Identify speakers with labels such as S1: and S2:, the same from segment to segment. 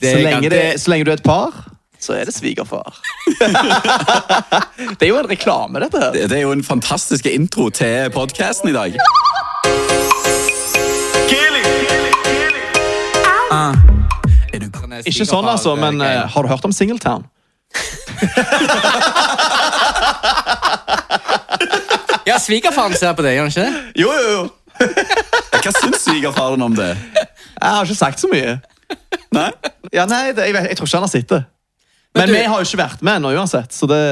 S1: Det
S2: så,
S1: kan-
S2: lenge det,
S1: det-
S2: så lenge du er et par, så er det svigerfar. det er jo en reklame, dette her.
S1: Det, det er jo en fantastisk intro til podcasten i dag. Ah. Er du-
S2: Ikke sånn, altså, men eh, har du hørt om Singletown?
S3: Ja, svigerfaren ser på det, gjør han ikke det?
S2: Jo, jo, jo.
S1: Hva syns svigerfaren om det?
S2: Jeg har ikke sagt så mye.
S1: Nei?
S2: Ja, nei, det, jeg, vet, jeg tror ikke han har sett det. Men
S3: du-
S2: vi har jo ikke vært med ennå uansett, så det,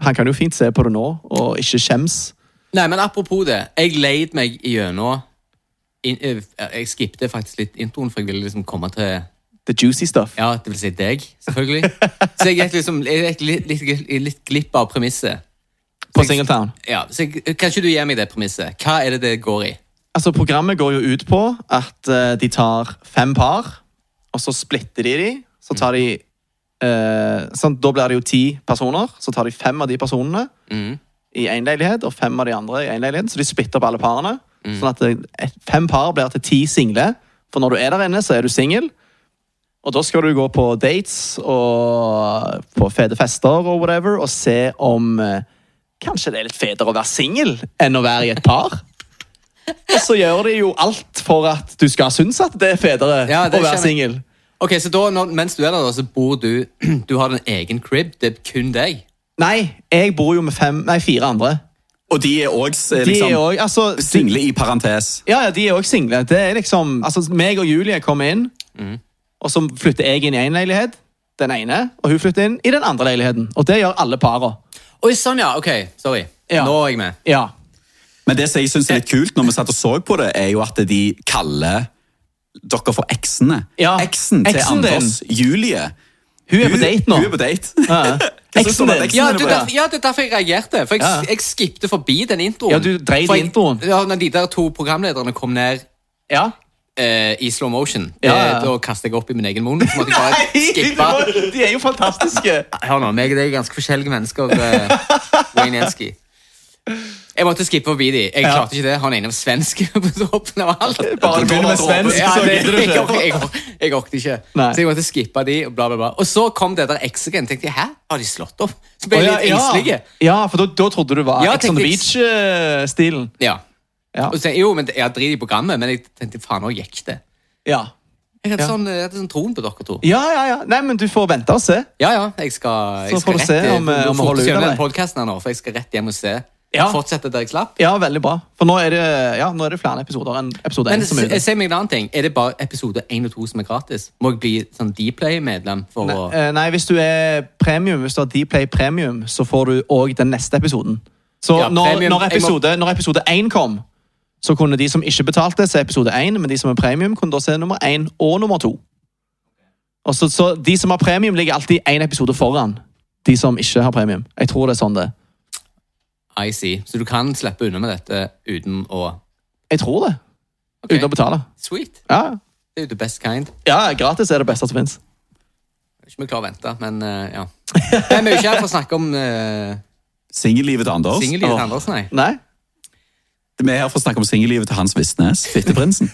S2: han kan jo fint se på det nå og ikke skjems.
S3: Nei, men apropos det. Jeg leid meg gjennom in, eh, Jeg skippte faktisk litt introen, for jeg ville liksom komme til
S2: The juicy stuff.
S3: Ja, det vil si deg, selvfølgelig. Så jeg gikk liksom jeg gikk litt, litt, litt glipp av premisset.
S2: På Singletown.
S3: Ja, så jeg, Kan ikke du gi meg det premisset? Hva er det det går i?
S2: Altså, Programmet går jo ut på at eh, de tar fem par, og så splitter de de. Så tar de eh, sant, Da blir det jo ti personer. Så tar de fem av de personene
S3: Mhm.
S2: i én leilighet og fem av de andre i én leilighet. Så de splitter opp alle parene.
S3: Mm.
S2: Sånn at det, et, fem par blir til ti single. For når du er der inne, så er du singel. Og da skal du gå på dates og på fete fester og whatever og se om eh, Kanskje det er litt fetere å være singel enn å være i et par? Og så gjør de jo alt for at du skal synes at det er fetere
S3: Ja, det
S2: å være
S3: skjønner jeg.
S2: singel.
S3: Ok, så da, når, Mens du er der, da, så bor du Du har din egen crib. Det er kun deg.
S2: Nei, jeg bor jo med fem, nei, fire andre.
S1: Og de er òg
S2: De er
S1: liksom,
S2: òg altså, de-
S1: single i parentes.
S2: Ja, ja, de er òg single. Det er liksom, altså, meg og Julie kommer inn,
S1: Mhm.
S2: og så flytter jeg inn i én leilighet. Den ene, og hun flytter inn i den andre leiligheten. Og det gjør alle para.
S3: Oi, sånn, ja. Ok, sorry.
S2: Ja.
S3: Nå er jeg med.
S2: Ja.
S1: Men det som jeg synes er litt kult, når vi satt og så på det, er jo at de kaller dere for eksene.
S2: Ja.
S1: Eksen til
S2: Eksen din.
S1: Anders Julie.
S2: Hun er på date nå.
S1: Hun er på date.
S2: Ja.
S1: Hva synes du om
S2: Eksen
S1: at
S2: din.
S1: eksen
S3: Ja,
S1: er
S3: du,
S1: på
S3: der, ja, det er derfor jeg reagerte. For jeg,
S2: Ja.
S3: jeg skippte forbi den introen.
S2: Ja, du dreide
S3: For jeg-
S2: introen.
S3: Ja, Når de der to programlederne kom ned
S2: Ja.
S3: eh, i slow motion,
S2: Ja,
S3: eh,
S2: ja.
S3: da kastet jeg opp i min egen mono. Så måtte jeg bare skippe.
S2: de er jo fantastiske.
S3: Hør nå, meg og deg er ganske forskjellige mennesker, eh, Wayne Jenski. Jeg måtte skippe forbi de. Jeg
S2: Ja.
S3: klarte ikke det. Han ene var svensk på toppen av alt.
S2: Bare du begynner med svensk,
S3: Ja,
S2: så
S3: det,
S2: gidder du
S3: jeg,
S2: ikke.
S3: ork- jeg, ork- jeg orket ikke.
S2: Nei.
S3: Så jeg måtte skippe de, og bla, bla, bla. Og så kom det der X-en. Tenkte jeg, hæ? Har de slått opp? Så ble jeg litt engstelig.
S2: ja. ja, for da, da trodde du var
S3: Ja,
S2: Ex on the eh,
S3: tenkte-
S2: Beach-stilen.
S3: Ja.
S2: Ja.
S3: Og så, tenkte jeg, jo, men det- jeg drit i programmet, men jeg tenkte faen, nå gikk det.
S2: Ja.
S3: Jeg hadde,
S2: Ja.
S3: sånn, jeg hadde sånn troen på dere to.
S2: ja, ja, ja. Nei, men du får vente og se.
S3: Ja, ja, jeg skal, jeg
S2: Så
S3: skal
S2: får du
S3: rett
S2: se
S3: til-
S2: om, eh,
S3: nå
S2: om vi
S3: får
S2: holder
S3: du
S2: ut av
S3: kjøre den
S2: deg.
S3: podcasten her nå, for jeg skal rett hjem og se.
S2: Ja.
S3: Fortsette der jeg slapp.
S2: Ja, veldig bra. For nå er det, ja, nå er det flere episoder enn episode
S3: Men
S2: én som er
S3: se
S2: ute.
S3: se meg en annen ting. Er det bare episode 1 og 2 som er gratis? Må jeg bli sånn Dplay-medlem for å
S2: Eh, Nei, hvis du er premium, hvis du har Dplay premium, så får du òg den neste episoden. Så
S3: Ja,
S2: når,
S3: premium,
S2: når,
S3: jeg må-
S2: episode, når episode én kom, så kunne de som ikke betalte, se episode én, men de som er premium, kunne da se nummer én og nummer to. Og så, så de som har premium, ligger alltid én episode foran de som ikke har premium. Jeg tror det er sånn det er.
S3: I see. Så du kan slippe unna med dette uten å
S2: Jeg tror det.
S3: Ok.
S2: Uten å betale.
S3: Sweet.
S2: Ja,
S3: Det er jo the best kind.
S2: ja gratis er det beste som fins.
S3: Jeg er Ikke vi klarer å vente, men eh, ja. Men vi er jo ikke her for å snakke om uh,
S1: Singellivet til Anders.
S3: singellivet
S2: Åh.
S3: til Anders, nei.
S2: Nei?
S1: Vi er her for å snakke om singellivet til Hans Vistnes, fitteprinsen.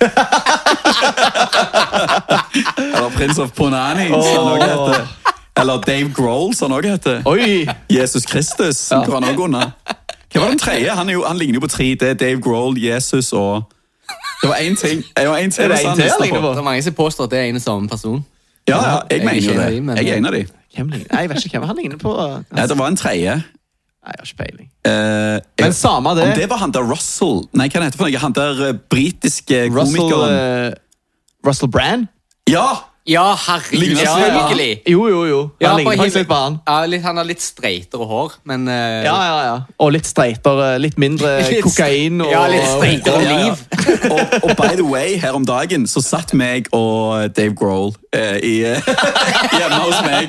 S1: Eller prins of Ponani, som han også heter. Eller Dave Grohl, som han også heter.
S2: Oi!
S1: Jesus Kristus, som går han også unna. Hva var den tredje? Han, er jo, han ligner jo på tre. Det er Dave Grohl, Jesus og Det var én ting. Det var en
S2: Er
S1: til
S2: det en
S1: som han
S2: til
S1: lista
S2: han ligner
S1: på.
S2: på?
S3: Det er mange som påstår at det er en og samme person.
S1: Ja, ja, jeg
S3: Jeg er
S1: mener
S3: ikke
S1: jo
S3: en av de, men-
S1: det. Jeg er en av de.
S2: Hvem ligner? Nei, jeg vet ikke hvem han ligner på. Nei,
S1: Ja, det var en tredje.
S2: jeg har ikke peiling.
S1: Eh, jeg-
S2: Men samme det.
S1: Om det var han der Russell Nei, hva heter det for noe? Han der eh, britiske
S2: Russell, eh,
S1: komikeren.
S2: Russell Brand?
S1: Ja!
S3: Ja, herregud,
S1: Ligner-
S3: selvfølgelig!
S2: Jo, jo, jo. Han
S3: Ja,
S2: ligner
S3: bare
S2: faktisk
S3: hiv-
S2: litt på han.
S3: Ja, litt, han har litt streitere hår, men eh,
S2: Ja, ja, ja. Og litt streitere. eh, Litt mindre
S3: Litt
S2: kokain og
S3: ja, litt streitere
S2: og-
S3: liv.
S1: Ja, ja. og, og by the way, her om dagen så satt meg og Dave Grohl eh, i, hjemme hos meg.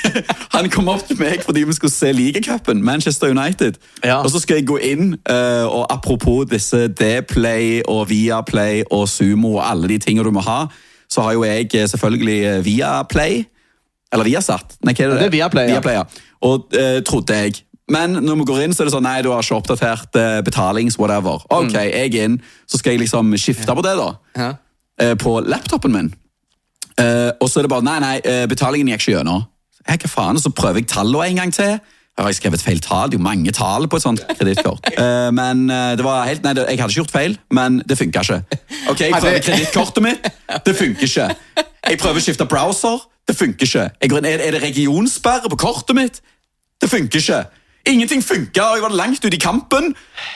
S1: Han kom opp til meg fordi vi skulle se ligacupen, Manchester United.
S2: Ja.
S1: Og så skal jeg gå inn, eh, og apropos disse D-play og Viaplay og Sumo og alle de tingene du må ha, så har jo jeg eh, selvfølgelig eh, Viaplay. Eller Viasat. Nei, hva er det?
S2: Ja, det er Viaplay, ja.
S1: Viaplay, ja. Og eh, trodde jeg. Men når vi går inn, så er det sånn Nei, du har ikke oppdatert eh, betalings-whatever.
S2: Mm.
S1: Ok, jeg er inn. Så skal jeg liksom skifte på det, da.
S3: Ja.
S1: Eh, på laptopen min. Eh, Eh, og så er det bare Nei, nei, eh, betalingen gikk ikke gjennom. Eh, Hva faen? Og så prøver jeg tallene en gang til. Har jeg skrevet feil tall? Det er jo mange tall på et sånt kredittkort. Eh, men eh, det var helt Nei, det, jeg hadde ikke gjort feil, men det funka ikke. Ok, Jeg prøver kredittkortet mitt. Det funker ikke. Jeg prøver å skifte browser. Det funker ikke. Jeg går inn, er, er det regionsperre på kortet mitt? Det funker ikke. Ingenting funka, og jeg var langt ute i kampen.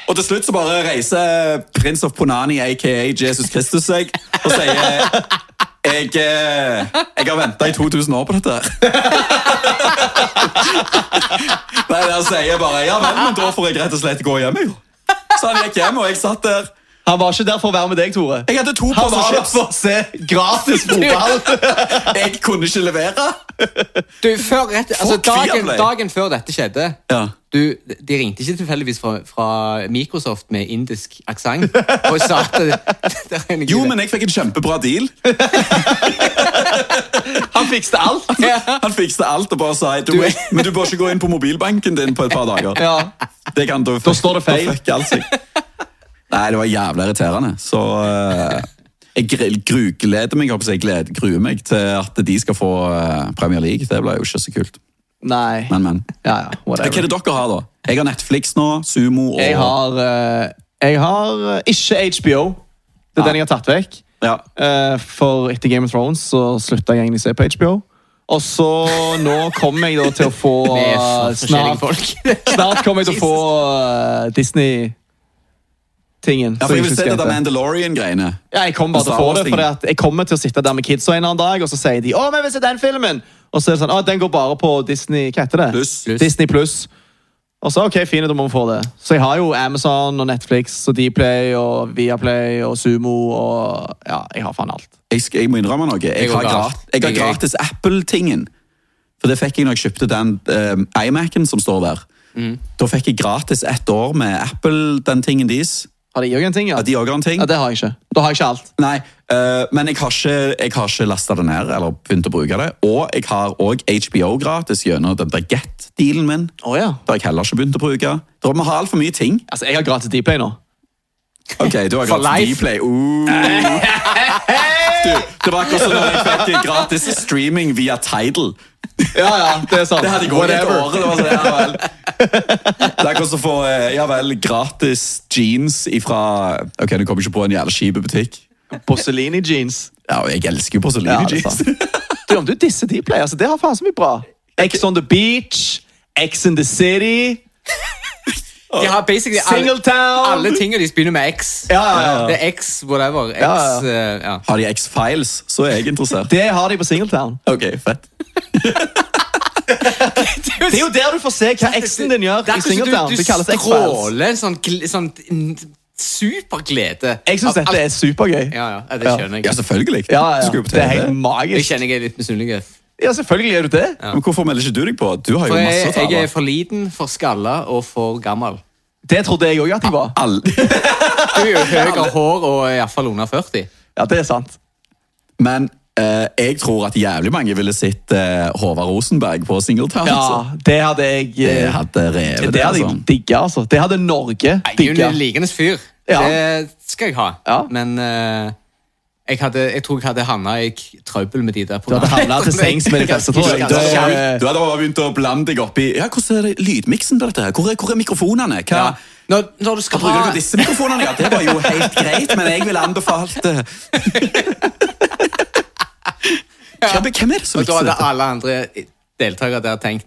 S1: Og til slutt så bare reiser prins of Ponani, aka Jesus Kristus, seg og sier Jeg, eh, jeg har venta i 2000 år på dette her. Nei, der sier jeg bare Ja vel, men da får jeg rett og slett gå hjem, jeg. Så han gikk hjem, og jeg satt der.
S2: Han var ikke der for å være med deg, Tore.
S1: Jeg hadde to
S2: Han var
S1: par
S2: ikke
S1: chips.
S2: for å se gratis fotball.
S1: Jeg kunne ikke levere.
S3: Du, før rett, altså,
S1: Fuck
S3: dagen,
S1: Viaplay.
S3: dagen før dette skjedde
S1: Ja.
S3: du, De ringte ikke tilfeldigvis fra, fra Microsoft med indisk aksent og sa at det er en
S1: Jo, men jeg fikk en kjempebra deal.
S2: Han fikste alt.
S1: Han fikste alt og bare sa du, Men du bør ikke gå inn på mobilbanken din på et par dager.
S2: Ja.
S1: Det kan, da,
S2: Da står det feil.
S1: Da fucker alt seg. Nei, det var jævla irriterende. Så eh, jeg gr- grugleder meg, håper jeg, jeg gled- gruer meg til at de skal få eh, Premier League. Det ble jo ikke så kult.
S2: Nei.
S1: Men, men.
S2: Ja, ja,
S1: Hva er
S2: whatever.
S1: det dere har, da? Jeg har Netflix nå, Sumo og
S2: Jeg har, eh, jeg har eh, ikke HBO. Det er den jeg har tatt vekk.
S1: ja.
S2: Eh, for etter Game of Thrones så slutta jeg egentlig å se på HBO. Og så nå kommer jeg da til å få eh,
S3: Det er for forskjellige
S2: snart,
S3: folk.
S2: snart kommer jeg til å få eh, Disney-tingen.
S1: ja,
S2: som
S1: for jeg
S2: ikke
S1: vil
S2: husker
S1: se
S2: heter.
S1: det der Altså, Mandalorian-greiene.
S2: Ja, jeg kommer bare til å få det,
S1: Star Wars-ting.
S2: fordi at jeg kommer til å sitte der med kidsa en eller annen dag, og så sier de 'Å, vi vil se den filmen', og så er det sånn 'Å, den går bare på Disney Hva heter det?
S1: Pluss. Pluss.
S2: Disney Pluss. Og så OK, fine, da må vi få det. Så jeg har jo Amazon og Netflix og Dplay og Viaplay og Sumo og Ja, jeg har faen alt.
S1: Jeg, skal, jeg må innrømme noe. Jeg
S3: går
S1: har,
S3: galt.
S1: grat, jeg har
S3: Jeg-
S1: gratis Apple-tingen. For det fikk jeg når jeg kjøpte den eh, iMac-en som står der.
S3: Mm.
S1: Da fikk jeg gratis ett år med Apple, den tingen deres.
S2: Har de òg en ting? Ja?
S1: Ja, de også har en ting.
S2: ja, det har jeg ikke. Da har jeg ikke alt.
S1: Nei, eh, men jeg har ikke, jeg har ikke lasta det ned eller begynt å bruke det. Og jeg har òg HBO gratis gjennom den der Get-dealen min.
S2: Å ja.
S1: Det har jeg heller ikke begynt å bruke. Da må vi ha altfor mye ting.
S2: Altså, jeg har gratis Dplay nå.
S1: Ok, du har
S3: For
S1: gratis
S3: life.
S1: Dplay. Uh. Du, det var akkurat som da jeg fikk gratis streaming via Tidal.
S2: Ja, ja, det er sant.
S1: Det hadde jeg gått et
S2: Whatever.
S1: år. Det var sånn, ja vel. Det er akkurat som å få eh, ja vel, gratis jeans ifra Ok, du kommer ikke på en jævla kjip butikk.
S2: Porcelini jeans.
S1: Ja, og jeg elsker jo
S2: Ja,
S1: porselin
S2: det er
S1: jeans.
S2: sant. Du, om du disser de players, det har faen så mye bra. X on the beach, X in the city,
S3: De har basically alle,
S2: Singletown.
S3: alle tingene de begynner med X.
S2: Ja, ja, ja.
S3: Det er X whatever. X,
S2: Ja, ja.
S3: eh, ja.
S1: Har de X-Files, så er jeg interessert.
S2: Det har de på Singletown.
S1: Ok, fett.
S2: Det er jo der du får se hva X-en din gjør i
S3: Derfor så
S2: Singletown.
S3: Du,
S2: Det
S3: du
S2: kalles X-Files.
S3: stråler sånn, gl- sånn n- superglede.
S2: Jeg syns
S3: Av alt-
S2: dette er supergøy.
S3: Ja, ja, ja, det skjønner
S1: Ja,
S3: jeg.
S1: selvfølgelig.
S2: Ja, ja.
S1: Skulle jo på
S2: Det er
S1: TV.
S2: helt
S3: Jeg
S2: magisk.
S3: kjenner jeg er litt misunnelig.
S2: Ja, selvfølgelig er du det.
S1: Men hvorfor melder ikke du deg på? Du har jo
S3: For
S1: masse
S3: jeg,
S1: å
S3: jeg er
S1: tale.
S3: for liten, for skalla og for gammel.
S2: Det trodde jeg òg at jeg var.
S1: Alle-
S3: Du er jo høyere hår og iallfall under 40.
S2: Ja, det er sant.
S1: Men eh, jeg tror at jævlig mange ville sett eh, Håvard Rosenberg på Singletown. altså.
S2: Ja, Ah. det hadde jeg
S1: Det
S2: eh,
S1: hadde revet
S2: Det hadde jeg
S1: sånn.
S2: digga, altså. Det hadde Norge
S3: Jeg er jo
S2: digga.
S3: en likendes fyr.
S2: Ja.
S3: Det skal jeg ha.
S2: Ja.
S3: Men eh, jeg, hadde, jeg tror jeg hadde havna i k- trøbbel med de der
S2: Du hadde havnet til sengs med de fleste, tror jeg.
S1: Du, du hadde bare begynt å blande deg opp i Ja, hvordan er det lydmiksen på dette? her? Hvor er, hvor er mikrofonene? Hva
S3: Ja. Når, når du skal
S1: bruker
S3: ha
S1: dere disse mikrofonene? Ja, det var jo helt greit, men jeg ville anbefalt eh, Hva- Hvem er det som
S3: Og da
S1: mikser
S3: hadde
S1: dette?
S3: alle andre deltakere der tenkt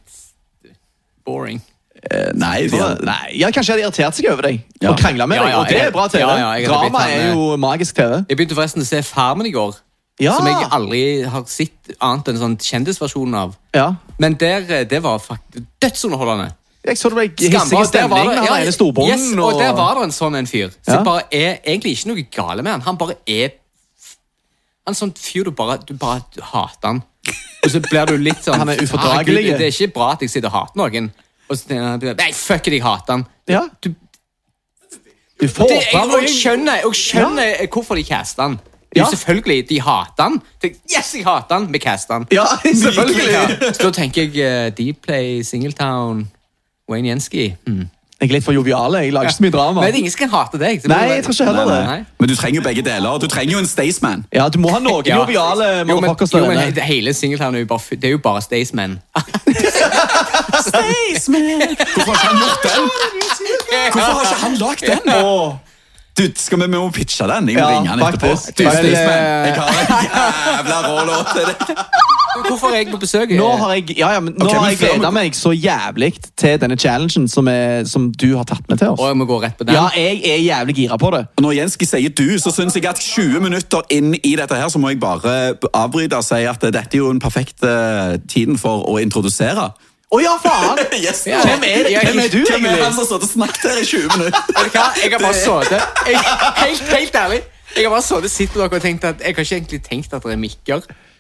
S3: Boring.
S1: Eh, Nei, de hadde-
S2: Nei, ja, Kanskje de har irritert seg over deg
S1: Ja.
S2: og krangla med
S3: Ja,
S2: deg.
S3: ja,
S2: og det
S3: jeg-
S2: er bra TV.
S3: ja, ja, jeg hadde
S2: Drama
S3: blitt eh. han,
S2: er jo magisk TV.
S3: Jeg begynte forresten å se Farmen i går.
S2: Ja.
S3: Som jeg aldri har sett annet enn sånn kjendisversjonen av.
S2: Ja.
S3: Men der, eh, det var faktisk dødsunderholdende.
S2: Jeg så det ble hissig
S3: Skambra, der var
S2: stemning
S3: det-
S2: med
S3: ja,
S2: han ene storbroren.
S3: yes, og der var det en sånn en fyr. Så
S2: Ja.
S3: det bare er egentlig ikke noe gale med han. Han bare er han er en sånn fyr du bare, du bare hater han. Og så blir du litt sånn
S2: Han er
S3: "Faen,
S2: ufordragelig."
S3: Gud, Det er ikke bra at jeg sitter og hater noen. Og så tenker han, Nei, fuck it, jeg hater han.
S2: Ja.
S3: Du,
S2: Du får
S3: det, jeg,
S2: fram
S3: og jeg skjønner, og skjønner hvorfor de caster han. Det er jo
S2: Ja.
S3: Selvfølgelig, de hater han. Tenk, yes, jeg hater han, vi caster han.
S2: Ja, selvfølgelig.
S3: eh, Ja. Så da tenker jeg uh, Dplay, Singletown, Wayne Jenski. Hmm.
S2: Jeg er litt for jovial. Jeg lager ikke så mye drama.
S3: Men ingen skal hate deg. så
S2: Nei,
S3: det-
S2: jeg tror ikke heller
S1: Nei,
S2: det.
S1: nei. Men du trenger jo begge deler. Du trenger jo en Staysman.
S2: Ja, Du må ha noen
S3: Ja.
S2: joviale
S3: Jo, men-
S2: motherfuckers
S3: jo,
S2: der
S3: men
S2: inne.
S3: he- Hele singeltown er jo bare, det er jo bare Staysman.
S1: Staysman! Hvorfor har ikke han gjort den? Hvorfor har ikke han lagd den?
S2: Åh.
S1: Du, skal vi, vi må pitche den. Jeg må
S2: Ja,
S1: ringe han etterpå.
S2: faktisk.
S1: Du, eh.
S2: Vel,
S1: Staysman,
S2: eh,
S1: jeg har en jævla rå låt til deg.
S3: Hvorfor er jeg på besøk?
S2: Nå har jeg, ja, ja, men nå
S1: Ok, men
S2: har jeg
S1: før vi
S2: gleda
S1: går-
S2: meg så jævlig til denne challengen som, er, som du har tatt med til
S3: Og
S2: oss.
S3: jeg må gå rett på den.
S2: Ja, jeg er jævlig gira på det.
S1: Og Når Jenski sier du, så syns jeg at 20 minutter inn i dette her, så må jeg bare avbryte og si at dette er jo den perfekte tiden for å introdusere.
S2: Å ja, faen!
S1: Yes.
S3: Ja.
S2: Hvem er,
S3: Ja,
S2: hvem er du,
S1: Hvem er han
S2: egentlig?
S1: som har stått og snakket her i 20 minutter?
S3: Vet du hva? Ah, Jeg har bare sittet jeg- helt, helt ærlig. Jeg har bare sittet sitt med dere og tenkt at Jeg har ikke egentlig tenkt at det er mikker.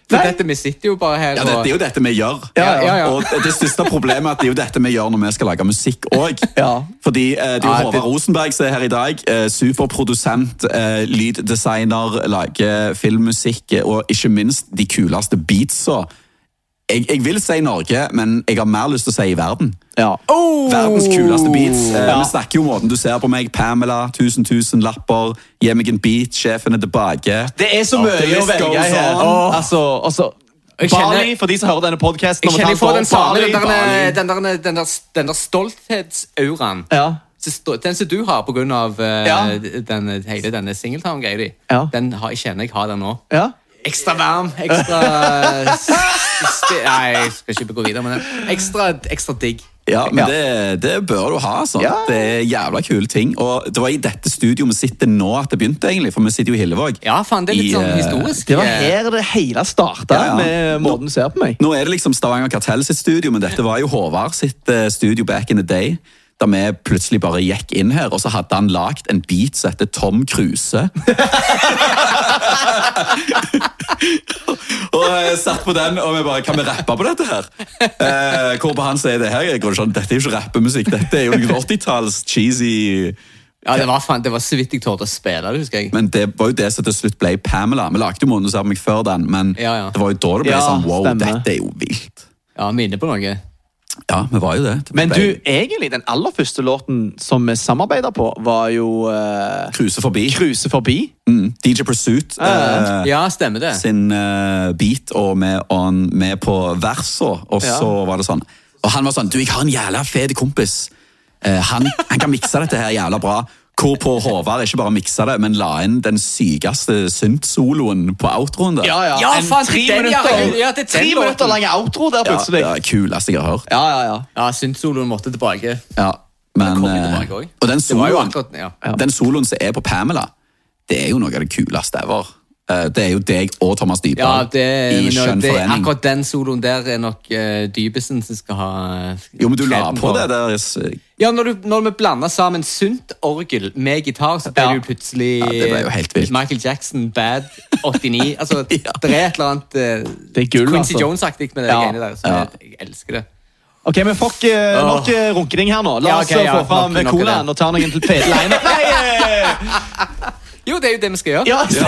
S3: For
S2: Nei.
S3: dette, vi sitter jo bare her
S1: Ja, det, det er jo dette vi gjør.
S3: Ja, ja, ja.
S1: Og og det største problemet er at det er jo dette vi gjør når vi skal lage musikk òg.
S2: Ja.
S1: Fordi eh, det er jo
S3: Ja, det-
S1: Håvard Rosenberg som er her i dag. Eh, superprodusent, eh, lyddesigner, lager filmmusikk eh, og ikke minst de kuleste beatsa. Jeg, jeg vil si Norge, men jeg har mer lyst til å si i verden.
S2: Ja.
S3: Oh!
S1: Verdens kuleste beats. Eh,
S2: Ja.
S1: Vi snakker jo om måten du ser på meg. Pamela, 1000 000 lapper. Gi meg en beat, sjefen er tilbake.
S2: Det er så mye
S1: list
S2: å velge
S1: goes
S2: i her.
S1: on.
S2: Åh. Altså, altså,
S3: Jeg kjenner-
S2: Bali, for de som hører denne podkasten
S3: Jeg kjenner jeg får
S2: sånn
S3: den samme den der,
S2: Bali.
S3: den der, den der, den der stolthetsauraen.
S2: Ja.
S3: Så stå- Den som du har pga.
S2: Ja.
S3: Uh, den, hele denne singeltown-greia di,
S2: Ja.
S3: den har, jeg kjenner jeg har den nå.
S2: Ja.
S3: Ekstra varm, ekstra s- s- Nei, jeg skal ikke gå videre med den. Ekstra, ekstra digg.
S1: Ja,
S2: Ja.
S1: men Det, det bør du ha. sånn.
S2: Ja.
S1: Det er jævla kule ting. Og Det var i dette studioet vi sitter nå at det begynte, egentlig, for vi sitter jo i Hillevåg.
S3: Ja, faen, det er litt
S1: I,
S3: sånn
S1: eh,
S3: historisk.
S2: Det var
S3: eh,
S2: her det hele starta,
S1: Ja, ja.
S2: med eh, måten du ser på meg.
S1: Nå er det liksom Stavanger Kartell sitt studio, men dette var jo Håvard sitt eh, studio back in the day. Da vi plutselig bare gikk inn her, og så hadde han lagd en beat som heter Tom Kruse. og jeg satt på den, og vi bare Kan vi rappe på dette her? Eh, hvorpå han sier det her. Jeg går sånn, Dette er jo ikke rappemusikk, dette er jo noe 80-talls cheesy
S3: Ja, det var, faen, det var så vidt jeg torde å spille det, husker jeg.
S1: Men det var jo det som til slutt ble Pamela. Vi lagde jo Månedens meg før den, men
S3: Ja, ja.
S1: det var jo da det ble
S2: Ja,
S1: sånn wow,
S2: stemmer.
S1: dette er jo vilt.
S3: Ja, vi er inne på noe.
S1: Ja, vi var jo det. det
S2: Men
S1: ble
S2: du, egentlig, den aller første låten som vi samarbeida på, var jo eh,
S1: Kruse forbi.
S2: Kruse forbi.
S1: Mm. DJ Pursuit
S2: Ah,
S1: eh,
S3: Ja, stemmer det.
S1: sin eh, beat, og med, on, med på versa, og
S2: Ja.
S1: så var det sånn. Og han var sånn Du, jeg har en jævla fet kompis. Eh, han, han kan mikse dette her jævla bra. Hvorpå Håvard ikke bare miksa det, men la inn den sykeste synt-soloen på outroen. der.
S2: Ja, ja.
S3: Ja,
S2: En
S3: faen,
S2: tre
S3: det er den, ja.
S2: minutter,
S3: Ja, det er
S2: tre
S3: den låten.
S2: minutter lang outro der
S1: ja,
S2: plutselig.
S1: ja, Kuleste jeg har hørt.
S2: Ja, ja, ja.
S3: Ja, Synth-soloen måtte tilbake.
S1: Ja, men,
S3: Den kom jo
S1: eh,
S3: tilbake også.
S1: Og den
S3: Det var jo
S1: soloen,
S3: akkurat- ja.
S1: den soloen som er på Pamela, det er jo noe av det kuleste ever. Eh, Det er jo deg og Thomas
S3: Ja,
S1: Dypdal
S3: det,
S1: i
S3: men
S1: skjønn
S3: det,
S1: forening.
S3: akkurat den soloen der er nok uh, Dybesen som skal ha
S1: Jo, men du la
S3: kreden
S1: på
S3: for.
S1: det der. eh, s-
S3: Ja, når, du, når vi blanda sammen sunt orgel med gitar, så ble
S2: Ja.
S3: det jo plutselig
S1: Ja, det ble jo helt vilt.
S3: Michael Jackson, Bad 89 Altså,
S1: Ja.
S3: Det er et eller annet eh,
S2: Det er gull,
S3: Quincy
S2: altså.
S3: Jones-aktig med det
S2: Ja.
S3: greiene der. Så
S1: Ja.
S3: jeg, jeg elsker det.
S2: Ok, men fuck eh, nok
S3: Åh.
S2: eh, runking her nå. La
S3: Ja,
S2: oss
S3: ok,
S2: eh,
S3: ja,
S2: få fram
S3: nok- nok av
S2: colaen
S3: det.
S2: og ta noen til Peder Einar. Nei, eh,
S3: Jo, det er jo det vi skal gjøre.
S2: ja, altså.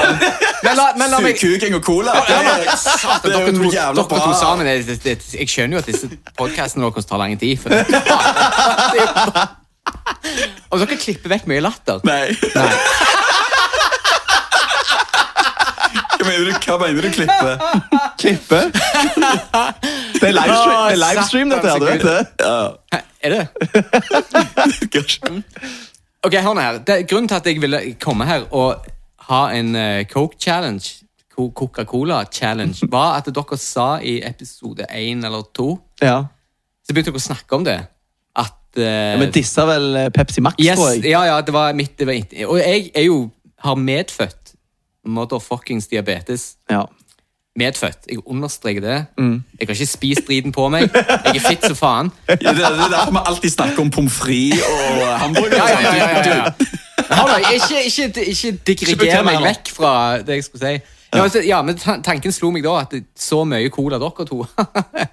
S3: Men la, men la meg
S1: Sugkuking og cola! Det
S3: Ja,
S1: er-
S3: men, satan,
S1: det er
S3: dere
S1: jo
S3: to,
S1: noe jævla
S3: dere
S1: bra.
S3: to sammen er- det, det, Jeg skjønner jo at disse podcastene deres tar lang tid. For, det er bare- og dere klipper vekk mye latter.
S1: Nei. Hva mener du, hva mener du klippe?
S2: Klippe. Det er livestream, det er
S3: Åh,
S2: livestream
S3: satan,
S2: dette her, du
S3: så
S2: vet det.
S1: Ja.
S3: Hæ, Er det? Ok, hør nå her. Det, grunnen til at jeg ville komme her og ha en eh, Coke Challenge, Co- Coca-Cola Challenge, var at dere sa i episode 1 eller 2
S2: Ja.
S3: Så begynte dere å snakke om det. At eh,
S2: Men dissa vel eh, Pepsi Max,
S3: Yes,
S2: tror jeg.
S3: ja, ja, det var mitt det var mitt. Og jeg er jo, har medfødt motherfuckings diabetes.
S2: Ja.
S3: Medfødt. Jeg understreker det. Jeg har ikke spist driten på meg. Jeg er fit som faen.
S1: Ja, det det er derfor vi alltid snakker om pommes frites og hamburger.
S3: Ja, ja,
S2: liksom.
S3: ja, ja, ja,
S1: Du-
S3: ja. Hold da, ikke, ikke, ikke digregere
S2: bekymre
S3: meg
S2: nå.
S3: vekk fra det jeg skulle si. Ja, altså, ja, men tan- Tanken slo meg da at det- så mye cola dere to har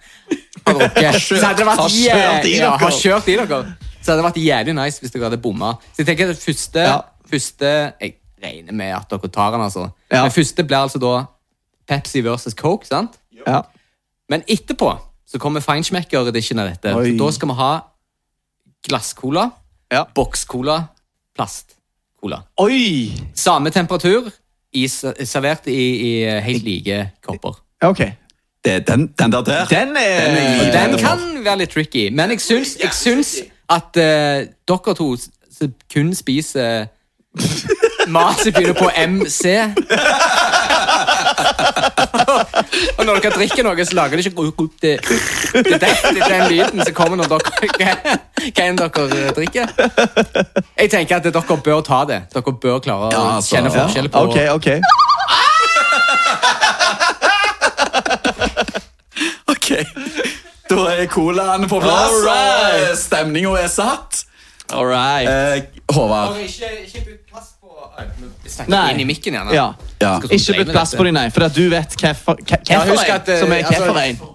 S3: drukket Så hadde det vært
S2: har kjørt i
S3: jæ- ja,
S2: dere.
S3: har kjørt i dere. Så hadde det vært jævlig nice hvis dere hadde bomma. Så jeg tenker at det første,
S2: Ja.
S3: første Jeg regner med at dere tar den, altså.
S2: Ja.
S3: Men første blir altså da Pepsi versus Coke, sant?
S2: Ja.
S3: Men etterpå så kommer Feinschmecker-edition av dette.
S2: Oi.
S3: Så da skal vi ha glasscola
S2: Ja.
S3: Boks-cola, plast-cola.
S2: Oi!
S3: Samme temperatur, i, servert i, i helt like kopper.
S2: Ja, OK.
S1: Det, den, den der der.
S2: Den er,
S1: Den er-
S3: eh, Den kan være litt tricky, men jeg syns, jeg syns at eh, dere to s- s- kun spiser mat som begynner på MC. Og når dere drikker noe, så lager det ikke ru- ru- det, det, er den- det, er den lyden som kommer når dere hva enn dere eh, drikker. Jeg tenker at dere bør ta det. Dere bør klare å
S1: Ja, altså,
S3: kjenne
S1: ja.
S3: forskjell på
S2: OK, OK.
S1: Ok. Da er colaen på plass.
S2: Alright.
S1: Stemninga er satt.
S2: All right.
S1: Eh, Håvard.
S3: Ikke, ikke bytt plass på Vi
S2: Nei.
S3: snakker inn i mikken igjen. da.
S2: Ja.
S1: Ja.
S3: Skal-
S2: Ikke bytt plass på dem, nei, for at du vet
S3: Ja, husk at,
S2: hvilken
S3: eh,
S2: som er
S3: altså-
S2: hvilken.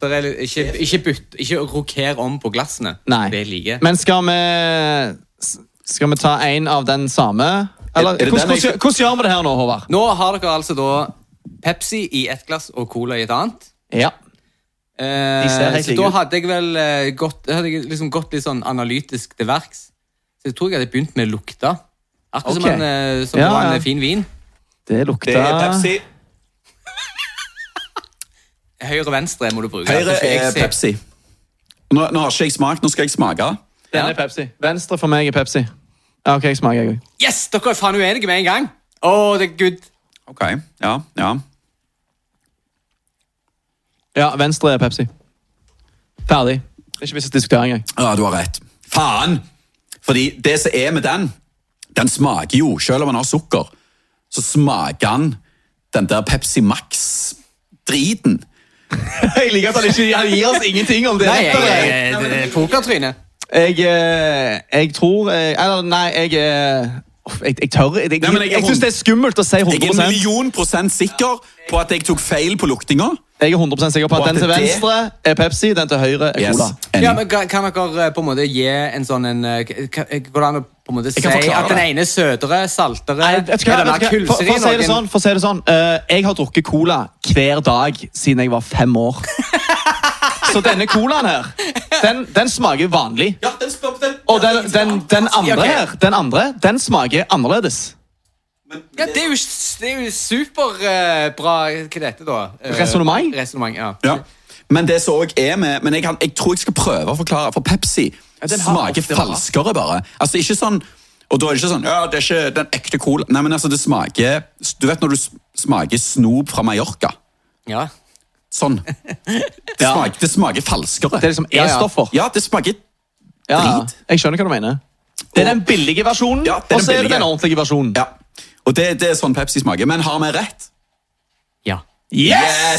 S3: Der er, litt- ikke, ikke bytt, ikke roker om på glassene.
S2: Nei.
S3: Det er like.
S2: Men skal vi s- Skal vi ta en av den samme? Eller,
S1: Er- er det
S2: hvordan,
S1: den jeg-
S2: hvordan, hvordan gjør vi det her nå, Håvard?
S3: Nå har dere altså da Pepsi i ett glass og Cola i et annet.
S2: Ja.
S3: Eh,
S2: De ser helt
S3: så
S2: like
S3: da
S2: ut.
S3: hadde jeg vel eh, gått, da hadde jeg liksom gått litt sånn analytisk til verks. Så jeg tror jeg hadde begynt med lukta. Akkurat
S2: Ok.
S3: som, en, eh, som
S2: Ja,
S3: det var en
S2: ja.
S3: eh, fin vin.
S2: Det lukter
S1: Det er Pepsi.
S3: Høyre og venstre må du bruke.
S1: Høyre
S3: Så skal jeg
S1: er
S3: se-
S1: Pepsi. Nå, nå har ikke jeg smakt, nå skal jeg smake.
S2: Den er Pepsi. Venstre for meg er Pepsi. Ja, OK, jeg smaker, jeg òg.
S3: Yes! Dere er faen uenige med en gang. Å, det er good.
S1: Ok, ja, ja.
S2: Ja, venstre er Pepsi. Ferdig. Det er Ikke vits å diskutere engang.
S1: Ja, du har rett. Faen! Fordi det som er med den, den smaker jo, selv om den har sukker, så smaker den den der Pepsi Max-driten.
S2: Jeg liker at han ikke han gir oss ingenting om det.
S3: Nei, jeg, jeg, det er pokertryne.
S2: Jeg, eh, jeg tror eh, Eller nei, jeg eh, uff, Jeg, jeg tør Jeg, jeg,
S1: Nei, men
S2: jeg,
S1: jeg er
S2: syns det er skummelt å si
S1: Jeg er en
S2: 100
S1: million prosent sikker på at jeg tok feil på luktinga.
S2: Jeg er 100 sikker på
S1: Og
S2: at
S1: at
S2: den til
S1: det-
S2: venstre er Pepsi, den til høyre er
S1: Yes,
S2: Cola.
S1: enig.
S3: Ja, men kan kan dere eh, på en måte gi en sånn en eh, k- k- Går det an å på en måte si
S1: kan forklare
S3: at den
S1: det.
S3: ene er søtere, saltere
S2: Nei, vet du hva,
S3: Er det
S2: vet
S3: mer
S2: du hva, for,
S3: kulser i
S2: for å si det
S3: noen?
S2: sånn, for å si det sånn eh, Jeg har drukket cola hver dag siden jeg var fem år. Så denne colaen her, den, den smaker vanlig.
S1: Ja, den spør den.
S2: Og den, den, den
S3: Ja,
S2: andre
S3: ok.
S2: her, den andre, den smaker annerledes.
S3: Ja, det er jo, det er jo superbra Hva er dette, da? Eh,
S2: Resonnement?
S3: Resonnement, ja.
S1: Ja. Men det som også er med Men jeg, kan, jeg tror jeg skal prøve å forklare, for Pepsi
S2: den har
S1: smaker
S2: ofte rart.
S1: falskere, bare. Altså, ikke sånn Og da er det ikke sånn Ja, det er ikke den ekte cola. Nei, men altså, det smaker Du vet når du s- smaker snop fra Mallorca?
S3: ja.
S1: Sånn. Det smaker, det smaker falskere.
S2: Det er liksom
S3: Ja, ja.
S2: E-stoffer.
S1: Ja, det smaker
S2: Ja, ja.
S1: drit.
S2: Jeg skjønner hva du mener. Det er den billige versjonen,
S1: Ja, det er
S2: og så er
S1: den
S2: det
S1: billige.
S2: den ordentlige versjonen.
S1: Ja. Og det, det er sånn Pepsi smaker. Men har vi rett?
S3: ja.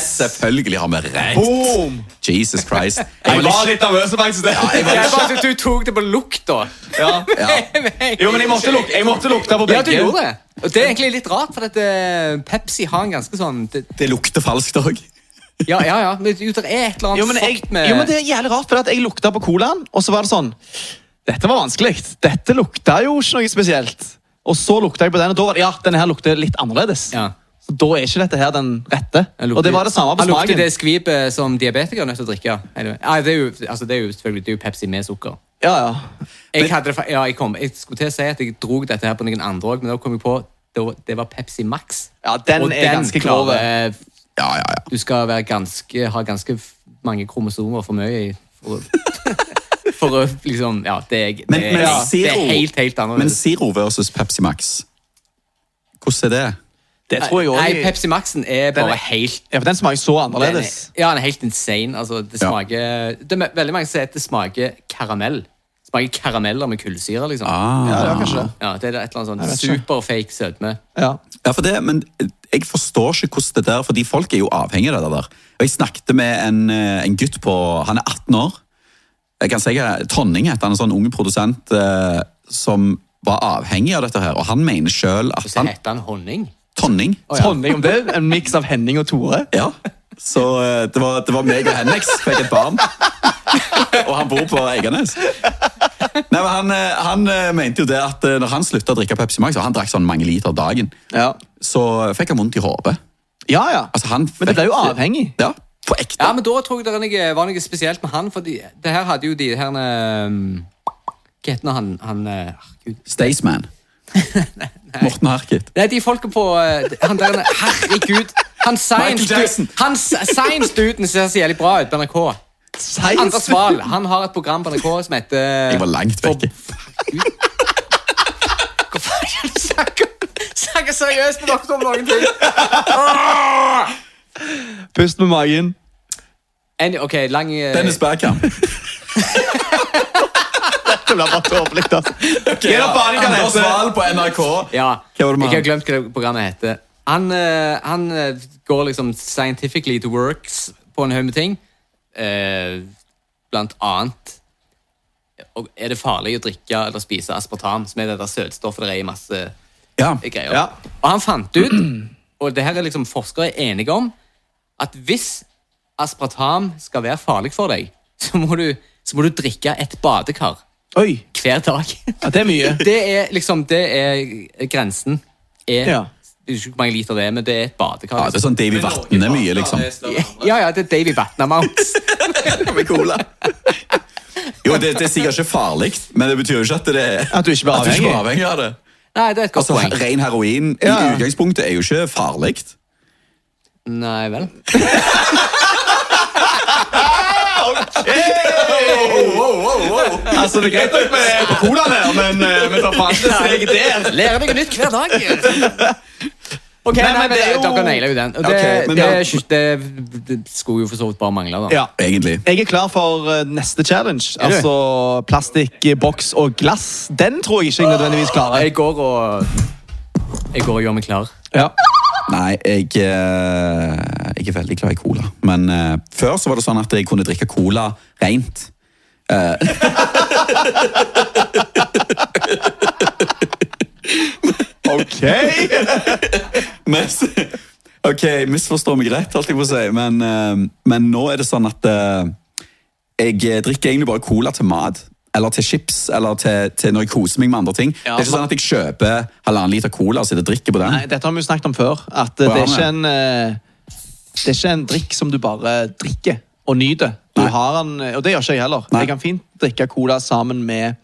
S1: Selvfølgelig har vi rett.
S2: Boom!
S1: Jesus Christ.
S2: Jeg var litt nervøs, faktisk.
S1: jeg
S3: Det er bare at du tok det på lukta.
S2: Ja. Jo, men jeg måtte, luk jeg måtte lukte på begge.
S3: Ja, du gjorde det. Og det er egentlig litt rart, for at eh, Pepsi har en ganske sånn det,
S1: Det lukter falskt òg.
S3: Ja, ja, ja. Men jo, det er et eller annet
S2: Jo, men, jeg,
S3: fucked med
S2: jo, men det er jævlig rart, for at jeg lukta på colaen, og så var det sånn Dette var vanskelig. Dette lukta jo ikke noe spesielt. Og så lukta jeg på den, og da var det Ja, denne her lukter litt annerledes.
S3: Ja.
S2: Så da er ikke dette her den rette.
S3: Han lukter-
S2: Og det var det samme på
S3: han lukter
S2: smaken.
S3: det skvipet som diabetikere er nødt til å drikke. Anyway. Nei, det er jo, altså, det er jo selvfølgelig det er jo Pepsi med sukker.
S2: Ja, ja.
S3: Jeg, hadde, det fa- ja, jeg, kom, jeg skulle til å si at jeg dro dette her på noen andre òg, men da kom jeg på det var, det var Pepsi Max.
S2: Ja, den
S3: Og
S2: er ganske
S3: klarer-
S2: grov.
S1: Ja, ja, ja.
S3: Du skal være ganske, ha ganske f- mange kromosomer for mye i for å, for å liksom Ja, det er,
S1: Men,
S3: det er,
S1: men,
S3: ja, det
S1: Zero-
S3: er helt, helt
S1: men
S3: annerledes.
S1: Zero versus Pepsi Max, hvordan er det?
S2: Det tror jeg
S3: Nei,
S2: òg.
S3: Pepsi Maxen er
S2: Den er-
S3: bare helt
S2: Ja, for den smaker så
S3: Den
S2: annerledes.
S3: er- Ja, den er helt insane. Altså, det
S1: Ja.
S3: smaker, det er veldig mange som sier at det smaker karamell. Det smaker karameller med kullsyre, liksom.
S1: Ah.
S2: Ja, det var kanskje det.
S3: Ja, det er et eller annet
S2: vet
S3: sånn
S2: ikke.
S3: superfake sødme.
S2: Ja.
S1: Ja, for det, men jeg forstår ikke hvordan det der, fordi folk er jo avhengige av det der. Og jeg snakket med en, eh, en gutt på, han er 18 år, jeg kan si eh, Tonning heter han, en sånn ung produsent eh, som var avhengig av dette her, og han mener selv at
S3: Og så
S1: han,
S3: heter den honning.
S1: Tonning,
S3: ja.
S2: Tonning om det. En miks av Henning og Tore.
S1: ja. Så eh, det var, det var meg og Hennex, fikk et barn. Og han bor på Eiganes. Nei, men han, eh, han eh, mente jo det at eh, når han sluttet å drikke Pepsi Max, og han drakk sånn mange liter dagen,
S2: Ja,
S1: så fikk han vondt i hodet.
S2: ja. ja.
S1: Altså, han
S2: Men det ble jo
S1: fikk-
S2: avhengig.
S1: Ja, på ekte.
S3: Ja, men da tror jeg det er noe, var noe spesielt med han, fordi det her hadde jo de her um, eh, Hva heter nå han, han eh, herregud.
S1: Staysman. Morten Harket.
S3: Nei, de folka på eh, Han der Herregud! Han
S1: Michael Jackson.
S3: Science-duden ser så jævlig bra ut på NRK. Anders Wahl han har et program på NRK som heter
S1: Jeg var langt vekke.
S3: Hva faen er det du snakker om? Snakker seriøst med dere om noen ting.
S2: Pust med magen.
S3: Any, ok, lang eh,
S1: Dennis Bergkamp.
S2: Det blir bare tåpelig, altså.
S1: Okay,
S2: da faen jeg kan
S1: Anders
S2: hete.
S1: Wahl på NRK.
S3: Ja.
S1: Hva var det med
S3: jeg har
S1: han?
S3: glemt hva det programmet heter. Han, eh, han eh, går liksom scientifically to works på en haug med ting. Eh, blant annet og Er det farlig å drikke eller spise aspartam, som er det der søtstoffet der er i masse
S1: Ja.
S3: greier?
S2: Ja.
S3: Og han fant ut, og det her er liksom forskere enige om, at hvis aspartam skal være farlig for deg, så må du, så må du drikke et badekar
S2: Oi,
S3: hver dag.
S2: ja, det er mye.
S3: Det er liksom, det er grensen. Er,
S2: Ja.
S3: Jeg husker ikke hvor mange liter det er, men det er et badekar.
S1: ja, det er sånn Davy Vatne mye, liksom.
S3: ja, ja, det er Davy Vatnamounts.
S1: Med cola. Jo, det, det er sikkert ikke farlig, men det betyr jo ikke at det er
S2: At du ikke blir
S1: at
S2: avhengig.
S1: blir avhengig av det.
S3: Nei, det er et godt
S1: Altså,
S3: poeng.
S1: Ren heroin i
S2: Ja.
S1: utgangspunktet er jo ikke farlig.
S3: Nei vel.
S1: Altså, det er greit nok med colaen her, men vi tar faen ikke steget der.
S3: Lærer deg nytt hver dag. Ok,
S2: Nei,
S3: nei,
S2: men
S3: men
S2: det er jo-
S3: Dere nailer jo den. Og det,
S1: Ok, men
S3: det,
S1: da-
S3: er ikke- det, det skulle jo for så vidt bare mangle, da.
S2: Ja.
S1: Egentlig.
S2: Jeg er klar for eh, neste challenge.
S3: du?
S2: Altså plastikk, eh, boks og glass. Den tror jeg ikke jeg nødvendigvis klarer.
S3: Jeg går og Jeg går og gjør meg klar.
S2: Ja.
S1: Nei, jeg, eh, jeg er veldig glad i cola. Men eh, før så var det sånn at jeg kunne drikke cola rent. Eh,
S2: Ok!
S1: mens, ok, misforstå meg rett, holdt jeg på å si. Men, eh, men nå er det sånn at eh, jeg drikker egentlig bare cola til mat. Eller til chips, eller til, til når jeg koser meg med andre ting.
S2: Ja,
S1: det er ikke sånn at jeg kjøper halvannen liter cola og sitter og drikker på den.
S2: Nei, dette har vi jo snakket om før. At eh, det er ikke en eh, Det er ikke en drikk som du bare drikker og nyter. Du
S1: Nei.
S2: har den, eh, og det gjør ikke jeg heller.
S1: Nei.
S2: Jeg kan fint drikke cola sammen med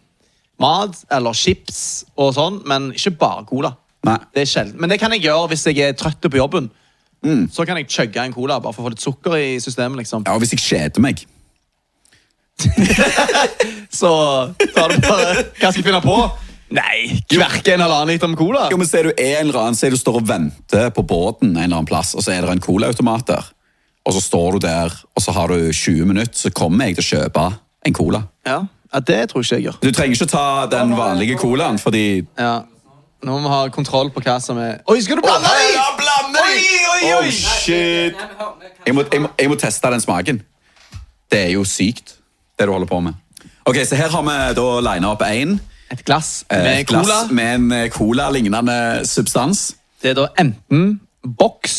S2: mat eller chips og sånn, men ikke bare cola.
S1: Nei.
S2: Det er sjelden. Men det kan jeg gjøre hvis jeg er trøtt på jobben. Så kan jeg chugge en cola bare for å få litt sukker i systemet. liksom.
S1: Mm. Ja, og hvis jeg kjeder meg.
S2: Så tar du bare Hva skal jeg finne på? Nei, kverke en halvannen liter med cola.
S1: Jo, men ser du er en eller annen, ser du står og venter på båten en eller annen plass, og så er det en colaautomat der. Og så står du der, og så har du 20 minutter, så kommer jeg til å kjøpe en cola.
S2: Ja, ja Det tror ikke jeg gjør.
S1: Du trenger ikke ta den vanlige colaen, fordi
S2: Ja. Nå må vi ha kontroll på hva som er Oi, skal du blande i?!
S1: Ja, blander de!
S2: Oi, oi, oi!
S1: Oh, shit! Jeg må, jeg, må, jeg må teste den smaken. Det er jo sykt, det du holder på med. Ok, så her har vi da lina opp én.
S2: Et glass
S1: eh,
S2: med
S1: glass
S2: cola.
S1: Med en eh, cola-lignende substans.
S2: Det er da enten boks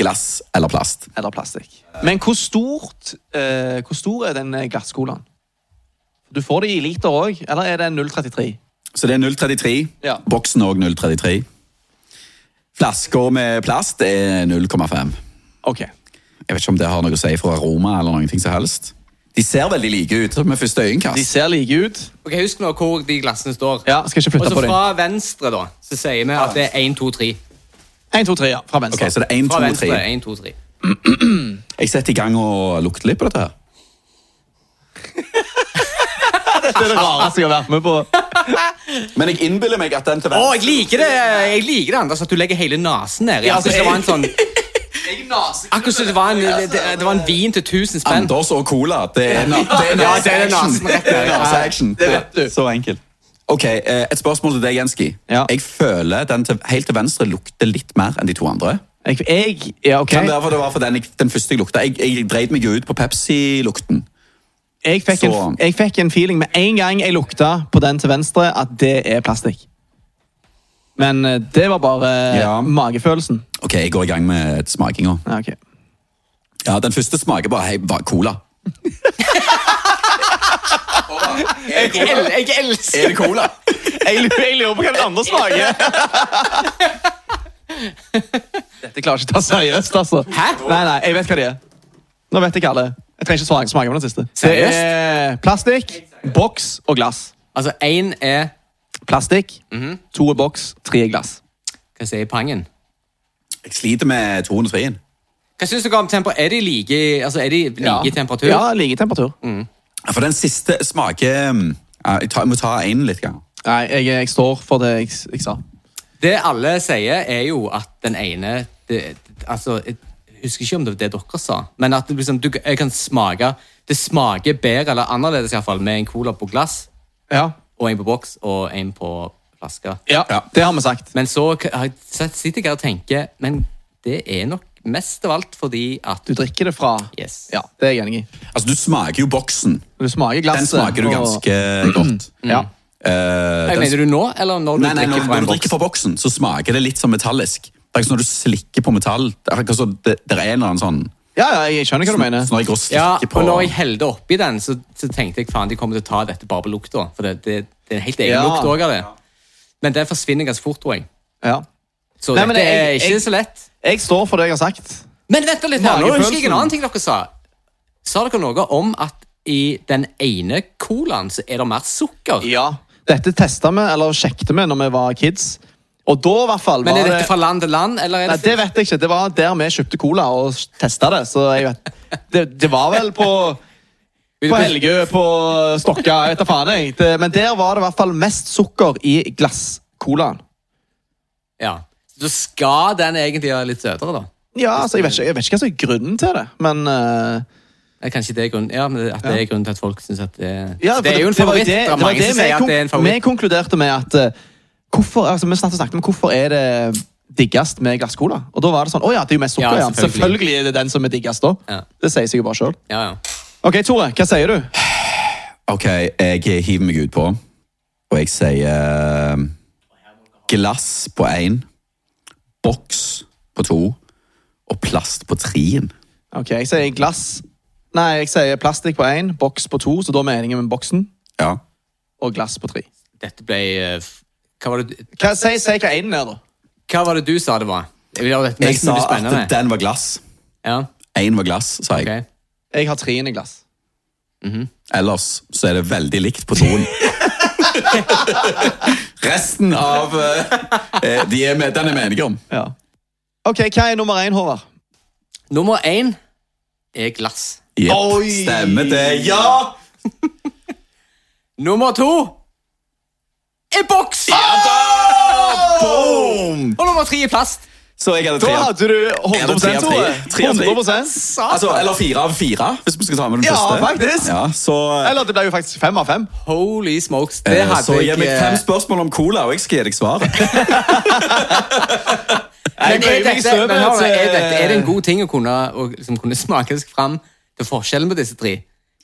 S1: Glass eller plast.
S2: eller plastikk. Men hvor stort eh, Hvor stor er den eh, glasscolaen? Du får det i liter òg, eller er det 0,33?
S1: Så det er 0,33.
S2: Ja.
S1: Boksen òg 0,33. Flasker med plast er 0,5.
S2: Ok.
S1: Jeg vet ikke om det har noe å si for aroma eller noen ting som helst. De ser veldig like ut med første
S2: De
S1: øyekast.
S2: ser like ut.
S3: Ok, Husk nå hvor de glassene står.
S2: Ja, Skal ikke
S3: Og
S2: flytte
S3: så
S2: på dem.
S3: fra venstre, da, så sier vi at det er 1, 2, 3.
S2: 1, 2, 3, ja. Fra venstre.
S1: Ok, så det er 1,
S3: Fra
S1: 2,
S3: venstre.
S1: 3.
S3: 1, 2, 3.
S1: Jeg setter i gang og lukter litt på dette. her.
S2: Dette er det rareste jeg har vært med på.
S1: Men jeg innbiller meg at den til
S3: Å,
S1: venstre
S3: jeg liker det, jeg liker det Anders, at du legger hele nasen ned.
S2: Ja,
S3: Akkurat som det var en sånn,
S2: Jeg naser.
S3: akkurat som det var en, det, det var en vin til 1000 spenn.
S1: Anders og cola, det er na- det er
S3: Ja,
S1: nase
S3: det er
S1: action.
S3: nasen rett
S1: Det
S3: der,
S1: er
S3: ja.
S1: nase action.
S2: Det vet du.
S1: Så enkelt. Ok, eh, Et spørsmål til deg, Jenski.
S2: Ja.
S1: Jeg føler den til, helt til venstre lukter litt mer enn de to andre.
S2: Jeg, jeg Ja, OK.
S1: Kan det være for det var for den, jeg- den første jeg lukta? Jeg, jeg dreit meg jo ut på Pepsi-lukten.
S2: Jeg fikk, en,
S1: Så-
S2: jeg fikk en feeling med en gang jeg lukta på den til venstre, at det er plastikk. Men eh, det var bare eh,
S1: Ja.
S2: magefølelsen.
S1: Ok, jeg går i gang med smakinga.
S2: Ja, ok.
S1: Ja, den første smaker bare hei, bare cola.
S3: Jeg, el, jeg elsker
S1: det cola?
S2: Jeg, lu- jeg lurer på hva den andre smaker. Dette klarer jeg ikke å ta seriøst, altså.
S3: Hæ?
S2: Nei, nei, jeg vet hva det er. Nå vet jeg hva det er. Jeg trenger ikke svare- smake på den siste. Det
S3: Seriøst?
S2: er plastikk, boks og glass.
S3: Altså, én er
S2: Plastikk. To er boks, tre er glass.
S3: Hva sier jeg, pangen?
S1: Jeg sliter med 203-en.
S3: Hva syns dere om temper? Er de like, altså, er de like temperatur?
S2: Ja, Mm. like temperatur.
S1: Ja, For den siste smaker mm, ja, Jeg, tar, jeg må ta én litt. Gang.
S2: Nei, jeg, jeg står for det jeg, jeg sa.
S3: Det alle sier, er jo at den ene det, Altså, jeg husker ikke om det var det dere sa, men at det, liksom, du, jeg kan smake Det smaker bedre eller annerledes i hvert fall, med en cola på glass
S2: Ja.
S3: og en på boks og en på flaske.
S2: Ja,
S1: Ja.
S2: Det har vi sagt.
S3: Men så k- har jeg- så sitter jeg her og tenker Men det er nok mest av alt fordi at
S2: Du drikker det fra
S3: Yes.
S2: Ja, Det er jeg enig i.
S1: Altså, du smaker jo boksen.
S2: Du smaker
S1: Den
S3: Altså,
S2: glasset.
S1: smaker du
S2: og-
S1: ganske godt.
S2: Ja.
S1: Eh,
S3: Jeg
S1: den,
S3: Mener du nå, eller når du
S1: nei, nei,
S3: drikker
S1: når,
S3: fra
S1: når
S3: en
S1: du drikker
S3: boks?
S1: fra boksen, så smaker det litt som metallisk. Det er ikke sånn Når du slikker på metall Det er, ikke sånn, det, det er en eller annen sånn
S2: ja, ja, jeg skjønner hva du mener.
S1: Så når jeg går og slikker
S3: Ja,
S1: på
S3: og når jeg heldte oppi den, så, så tenkte jeg faen, de kommer til å ta dette bare på lukta. For det, det, det er en helt egen
S2: Ja.
S3: lukt også av det. Men den forsvinner ganske fort, tror jeg.
S2: Ja.
S3: Så
S2: Nei, men
S3: dette
S2: jeg-
S3: er ikke
S2: jeg-
S3: så lett.
S2: Jeg står for det jeg har sagt.
S3: Men vent da litt her, nå husker jeg
S2: Magefølelsen.
S3: en annen ting dere sa. Sa dere noe om at i den ene colaen så er det mer sukker?
S2: Ja. Dette testa vi, eller sjekket vi, når vi var kids. Og da, i hvert fall
S3: Men
S2: var
S3: er dette fra land til land, eller er
S2: Nei,
S3: det,
S2: Det vet jeg ikke. Det var der vi kjøpte cola og testa det. Så jeg vet Det, det var vel på på Helgø, på Stokka, jeg vet da faen. jeg. Det, men der var det i hvert fall mest sukker i glasscolaen.
S3: Ja. Så skal den egentlig være litt søtere, da?
S2: Ja, altså, jeg vet, ikke, jeg vet ikke hva som er grunnen til det, men eh,
S3: Eller Kanskje det er grunnen, ja, men at det er grunnen til at folk syns at det
S2: ja,
S3: Det er jo en
S2: var
S3: favoritt. Det,
S2: det- det
S3: er
S2: var
S3: mange
S2: det
S3: som
S2: vi
S3: sier at
S2: kon-
S3: det er en
S2: Vi
S3: favoritt.
S2: konkluderte med at eh, hvorfor, altså, Vi snakket, snakket om hvorfor er det diggest med glasscola. Og da var det sånn Å ja, det er jo mest sukker.
S3: Ja,
S2: Ja, selvfølgelig.
S3: selvfølgelig.
S2: er det den som er diggest da.
S3: Ja.
S2: Det sier seg jo bare sjøl.
S3: Ja, ja.
S2: OK, Tore, hva sier du?
S1: Ok, jeg hiver meg ut på, og jeg sier eh, glass på én, boks på to og plast på treen.
S2: Ok, Jeg sier glass Nei, jeg sier plastikk på én, boks på to, så da mener jeg med boksen.
S1: Ja.
S2: Og glass på tre.
S3: Dette ble eh, f- hva var, det,
S2: Hva, si, si hva én er, da.
S3: hva var det du sa det var? Jeg vil gjøre dette
S1: Jeg
S3: mest
S1: sa
S3: mulig spennende.
S1: at den var glass.
S3: Ja,
S1: Én var glass, sa jeg.
S3: ok.
S2: Jeg har treen i glass.
S1: Ellers så er det veldig likt på toen. Resten av eh, de er med, Den er vi enige om.
S2: Ja. Ok, Hva er nummer én, Håvard?
S3: Nummer én er glass.
S1: Jepp,
S2: Oi!
S1: Stemmer det. Ja!
S3: Nummer to er boks!
S1: Boom!
S3: Og nummer tre er plast.
S1: Så jeg hadde
S2: Da
S1: tre av
S2: hadde du
S1: Ja, det er tre
S2: 100
S1: av
S2: Tore.
S1: tre. Tre av tre.
S2: 100
S1: Altså, eller fire av fire, hvis vi skal ta med den
S2: Ja,
S1: første.
S2: faktisk.
S1: Ja, så,
S2: Eller det ble jo faktisk fem av fem.
S3: Holy smokes. Det
S1: eh,
S3: hadde
S1: så gi
S3: jeg
S1: meg fem
S3: eh,
S1: spørsmål om cola, og jeg skal gi deg svaret.
S3: Men er
S2: Jeg bøyer meg i
S3: dette, men hør, nå,
S2: støvet
S3: er,
S1: eh.
S2: til-
S3: dette, er det en god ting å kunne, å liksom kunne smake seg fram til forskjellen på disse tre?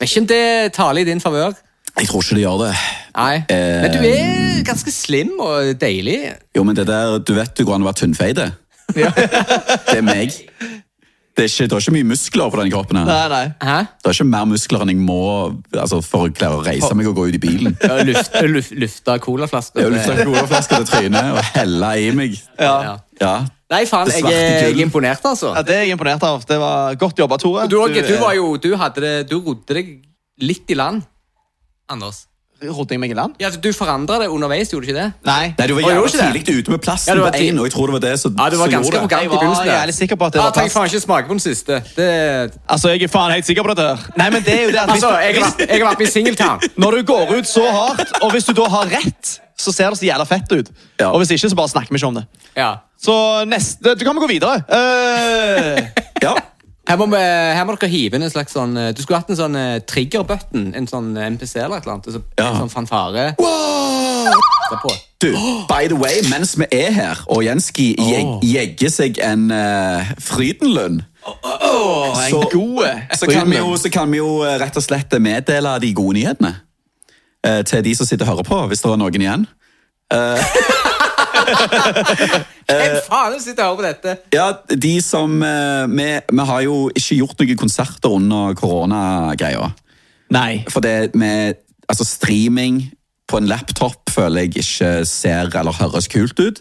S3: Vet ikke om det taler i din favør.
S1: Jeg tror ikke de gjør det.
S3: Nei.
S1: Eh,
S3: Men du er ganske slim og deilig.
S1: Jo, men det der, Du vet jo hvordan det var tynnfeide.
S2: Ja.
S1: Det er meg. Det er ikke, det er ikke mye muskler på den kroppen. her.
S2: Nei, nei.
S3: Hæ?
S1: Det er ikke mer muskler enn jeg må altså, for å klare å reise meg og gå ut i bilen.
S3: Ja, Luft, luft, lufta colaflasker.
S1: Jeg har lufta colaflasker sånn til trynet og hella i meg.
S2: Ja.
S1: Ja.
S3: Nei, faen,
S1: Det
S3: jeg,
S1: svarte
S3: er- jeg
S1: gull.
S3: er imponert, altså.
S2: Ja, det er jeg imponert av. Det var Godt jobba, Tore.
S3: Du, Åge, du
S2: er-
S3: var jo Du hadde det Du rodde deg litt i land, Anders.
S2: Rodde jeg meg i land?
S3: Ja, Du forandra det underveis, gjorde du ikke det?
S2: Nei.
S1: Nei, Du var
S3: Å, gjorde ikke
S1: jævlig
S3: det?
S1: tidlig ute med
S3: Ja,
S1: plasten
S3: du var
S1: på
S3: tid-
S1: én, og jeg tror det var det som
S3: Ja, du var ganske
S1: som gjorde det.
S3: arrogant i
S2: Jeg var
S3: begynnelsen. der.
S2: jævlig sikker på at det
S3: ah,
S2: var
S3: Tenk
S2: plast.
S3: faen ikke smake på den siste. Det...
S2: Altså, jeg er faen helt sikker på dette. her. Nei, men det er jo det at hvis
S3: Altså,
S2: du-
S3: jeg har vært- jeg har vært med i Singletown.
S2: Når du går ut så hardt, og hvis du da har rett, så ser det så jævla fett ut.
S1: Ja.
S2: Og hvis ikke, så bare snakker vi ikke om det.
S3: Ja.
S2: Så neste Du kan vi gå videre. Eh,
S1: Ja.
S3: Her må, vi, her må dere hive inn en slags sånn eh, Du skulle hatt en sånn eh, trigger button. En sånn eh, MPC eller et eller annet. og så-
S1: Ja.
S3: En sånn fanfare. Derpå.
S1: Du, by the way, mens vi er her, og Jenski jeg, jegger seg en uh, Frydenlund
S2: en
S1: Så-
S2: god
S1: så kan, vi jo, så kan vi jo eh, rett og slett meddele de gode nyhetene eh, til de som sitter og hører på, hvis det er noen igjen.
S3: Hvem faen sitter og hører på dette?
S1: Ja, de som eh, vi, vi har jo ikke gjort noen konserter under koronagreia.
S2: Nei.
S1: For det med altså streaming på en laptop føler jeg ikke ser eller høres kult ut.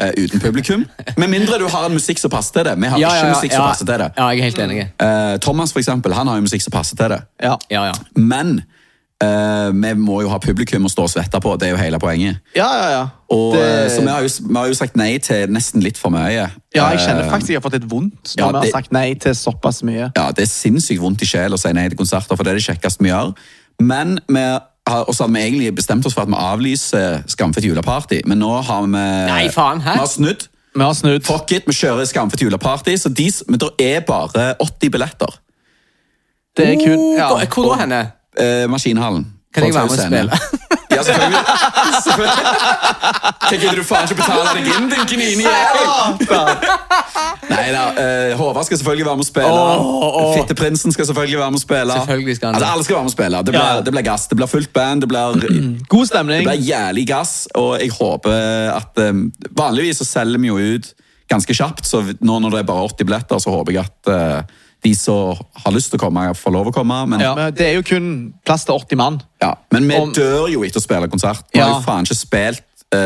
S1: eh, uten publikum. Med mindre du har en musikk som passer til det. Vi har ikke musikk som passer til det.
S3: Ja, jeg er helt enig.
S1: Eh, Thomas for eksempel, han har jo musikk som passer til det.
S2: Ja.
S3: Ja, ja.
S1: Men Eh, vi må jo ha publikum å stå og svette på. Det er jo hele poenget.
S2: Ja, ja, ja.
S1: Og,
S2: Det-
S1: eh, Så vi har, jo, s- vi har jo sagt nei til nesten litt for mye.
S2: ja, jeg
S1: Eh,
S2: kjenner faktisk jeg har fått litt vondt når
S1: Ja,
S2: vi
S1: det-
S2: har sagt nei til såpass mye.
S1: ja, det er sinnssykt vondt i sjel å si nei til konserter, for det er det kjekkeste vi gjør. Men vi har, og så hadde vi egentlig bestemt oss for at vi avlyser Skamfett juleparty, men nå har vi
S3: Nei, faen, hæ?
S1: Vi har snudd.
S2: Vi har snudd.
S1: Fuck it, vi kjører Skamfett juleparty, så de, s- men det er bare 80 billetter.
S2: Det er kun
S3: Oh,
S2: ja.
S3: hvor- Hvor da henne?
S1: Eh, maskinhallen.
S3: Kan jeg
S1: Folk
S3: være med og
S1: skal jo
S3: spille?
S1: se henne. Ja, selvfølgelig. selvfølgelig. Tenker du faen ikke betale deg inn, din gninijævel? Nei da, eh, Håvard skal selvfølgelig være med å spille. Fitteprinsen skal selvfølgelig være med å spille.
S3: Selvfølgelig skal han det.
S1: altså, alle skal være med å spille. Det blir,
S2: Ja.
S1: det blir gass, det blir fullt band, det blir,
S3: Mm.
S1: det
S2: God stemning.
S1: blir jævlig gass. Og jeg håper at eh, Vanligvis så selger vi jo ut ganske kjapt, så nå når det er bare 80 billetter, så håper jeg at eh, de som har lyst til å komme, får lov å komme. Men,
S2: Ja. Men Det er jo kun plass til 80 mann.
S1: ja. men vi
S2: Om-
S1: dør jo etter å spille konsert. Vi har
S2: Ja.
S1: jo faen ikke spilt eh,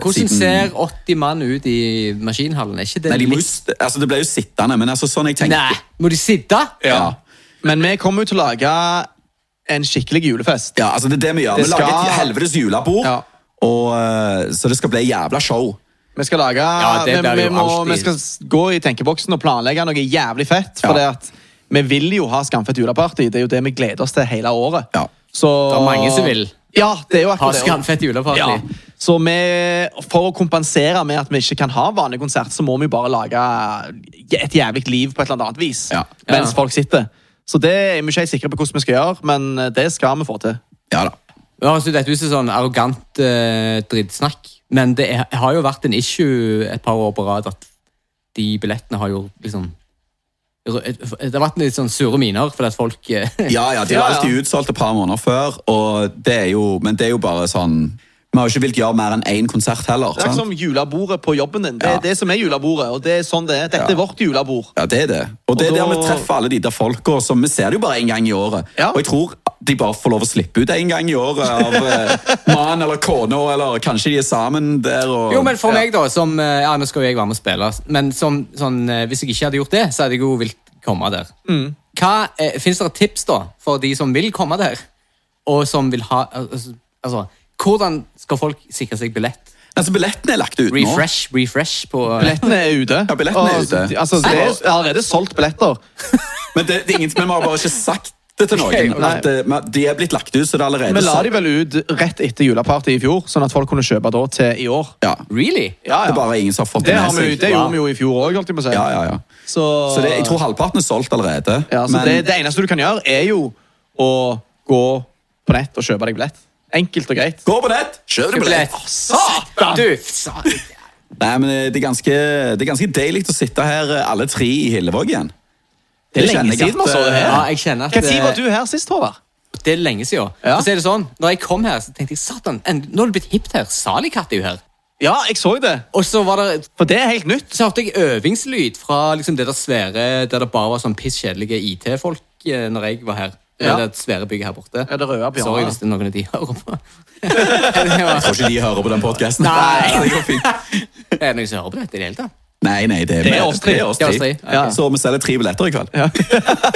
S3: Hvordan
S1: siden
S3: ser 80 mann ut i maskinhallen? Er ikke det
S1: Nei, de må jo,
S3: litt
S1: st- altså, Det ble jo sittende, men altså, sånn jeg tenkte
S3: Nei, må de sitte?
S1: Ja.
S2: Men vi kommer jo til å lage en skikkelig julefest.
S1: Ja, altså det er det vi gjør.
S2: Det
S1: vi lager
S2: skal-
S1: et helvetes julebord,
S2: Ja.
S1: og, eh, så det skal bli jævla show.
S2: Vi skal lage
S3: det blir
S2: vi, vi,
S3: jo
S2: må,
S3: alltid-
S2: vi skal s- gå i tenkeboksen og planlegge noe jævlig fett. For det
S1: Ja.
S2: at vi vil jo ha Skamfett juleparty. Det er jo det vi gleder oss til hele året.
S1: Ja.
S2: Så,
S3: Det er mange som vil.
S2: Ja, det er jo
S3: Ha
S2: akkurat det.
S3: skamfett juleparty.
S2: Ja. Så vi, for å kompensere med at vi ikke kan ha vanlig konsert, så må vi jo bare lage et jævlig liv på et eller annet vis.
S1: Ja.
S2: Mens
S3: Ja.
S2: folk sitter. Så det er vi ikke helt sikre på hvordan vi skal gjøre, men eh, det skal vi få til.
S1: Ja da.
S3: Det høres ut dette ut som sånn arrogant eh, drittsnakk, men det er, har jo vært en issue et par år på rad at de billettene har jo liksom Det har vært litt sånn sure miner fordi at folk eh,
S1: Ja, ja, De
S2: Ja,
S1: var
S2: ja.
S1: alltid utsolgt et par måneder før, og det er jo, men det er jo bare sånn Vi har jo ikke villet gjøre mer enn én konsert heller.
S2: Det er
S1: sant?
S2: som julebordet på jobben din. Det er
S1: Ja.
S2: det som er julebordet, og det er sånn det er. Dette er vårt julebord.
S1: Ja, det er det. Og det er
S2: Og da-
S1: der vi treffer alle de der folka som Vi ser det jo bare én gang i året.
S2: Ja.
S1: Og jeg tror de bare får lov å slippe ut én gang i året av eh, mann eller kone, eller kanskje de er sammen der og
S3: Jo, men for meg, da, som eh, Ja, nå skal jo jeg være med og spille, men som, sånn, eh, hvis jeg ikke hadde gjort det, så hadde jeg jo villet komme der. Hva, eh, Fins det tips, da, for de som vil komme der, og som vil ha Altså, altså, hvordan skal folk sikre seg billett?
S1: Altså, Billettene er lagt ut nå.
S3: Refresh, refresh på
S2: Billettene er ute.
S1: Ja, billettene er
S2: Og-
S1: ute.
S2: Altså, det er jeg har allerede solgt billetter.
S1: Men det, det er ingen, men vi har bare ikke sagt det til noen.
S3: Ok, nei.
S1: at, eh, men de er blitt lagt ut, så det er allerede
S2: Vi la de
S1: sagt.
S2: vel ut rett etter juleparty i fjor, sånn at folk kunne kjøpe da til i år.
S1: Ja.
S3: Really?
S2: Ja, ja.
S1: Det er bare ingen som har fått
S2: Det,
S1: det
S2: har
S1: med
S2: vi, jo-
S1: seg.
S2: det gjorde vi jo i fjor òg, holdt jeg på å si.
S1: Ja, ja, ja.
S2: Så,
S1: Så det, jeg tror halvparten er solgt allerede.
S2: ja, så
S1: men
S2: det, det eneste du kan gjøre, er jo å gå på nett og kjøpe deg billett. Enkelt og greit.
S1: gå på nett, kjøp deg billett!
S3: Å, Satan! Du, satan.
S1: Nei, men eh, det er ganske, det er ganske deilig å sitte her eh, alle tre i Hillevåg igjen.
S2: Det er lenge
S1: Det kjenner jeg
S2: siden vi
S1: at,
S2: så
S3: Ja,
S2: det her.
S3: jeg kjenner at
S2: eh, Hva tid var du her sist, Håvard?
S3: Det er lenge siden.
S2: Ja.
S3: For å si det sånn, når jeg kom her, så tenkte jeg satan, en- nå er det blitt hipt her. Salikatt er jo her.
S2: Ja, jeg så det.
S3: Og så var det
S2: For det er helt nytt.
S3: så hørte jeg øvingslyd fra liksom det der svære Der det bare var sånn pisskjedelige IT-folk eh, når jeg var her.
S2: Ja.
S3: Det der svære bygget her borte.
S2: Ja, det røde pianoet.
S3: Sorry hvis det er noen av de hører på. det
S1: Jeg
S3: var-
S1: tror ikke de hører på den podkasten.
S3: Nei.
S1: det går fint.
S3: er det noen som hører på dette i det hele tatt?
S1: Nei, nei, det er,
S2: Det er oss tre.
S1: Det er oss
S3: Det er oss
S1: tre.
S3: tre,
S2: ok.
S1: Så vi selger tre billetter i kveld.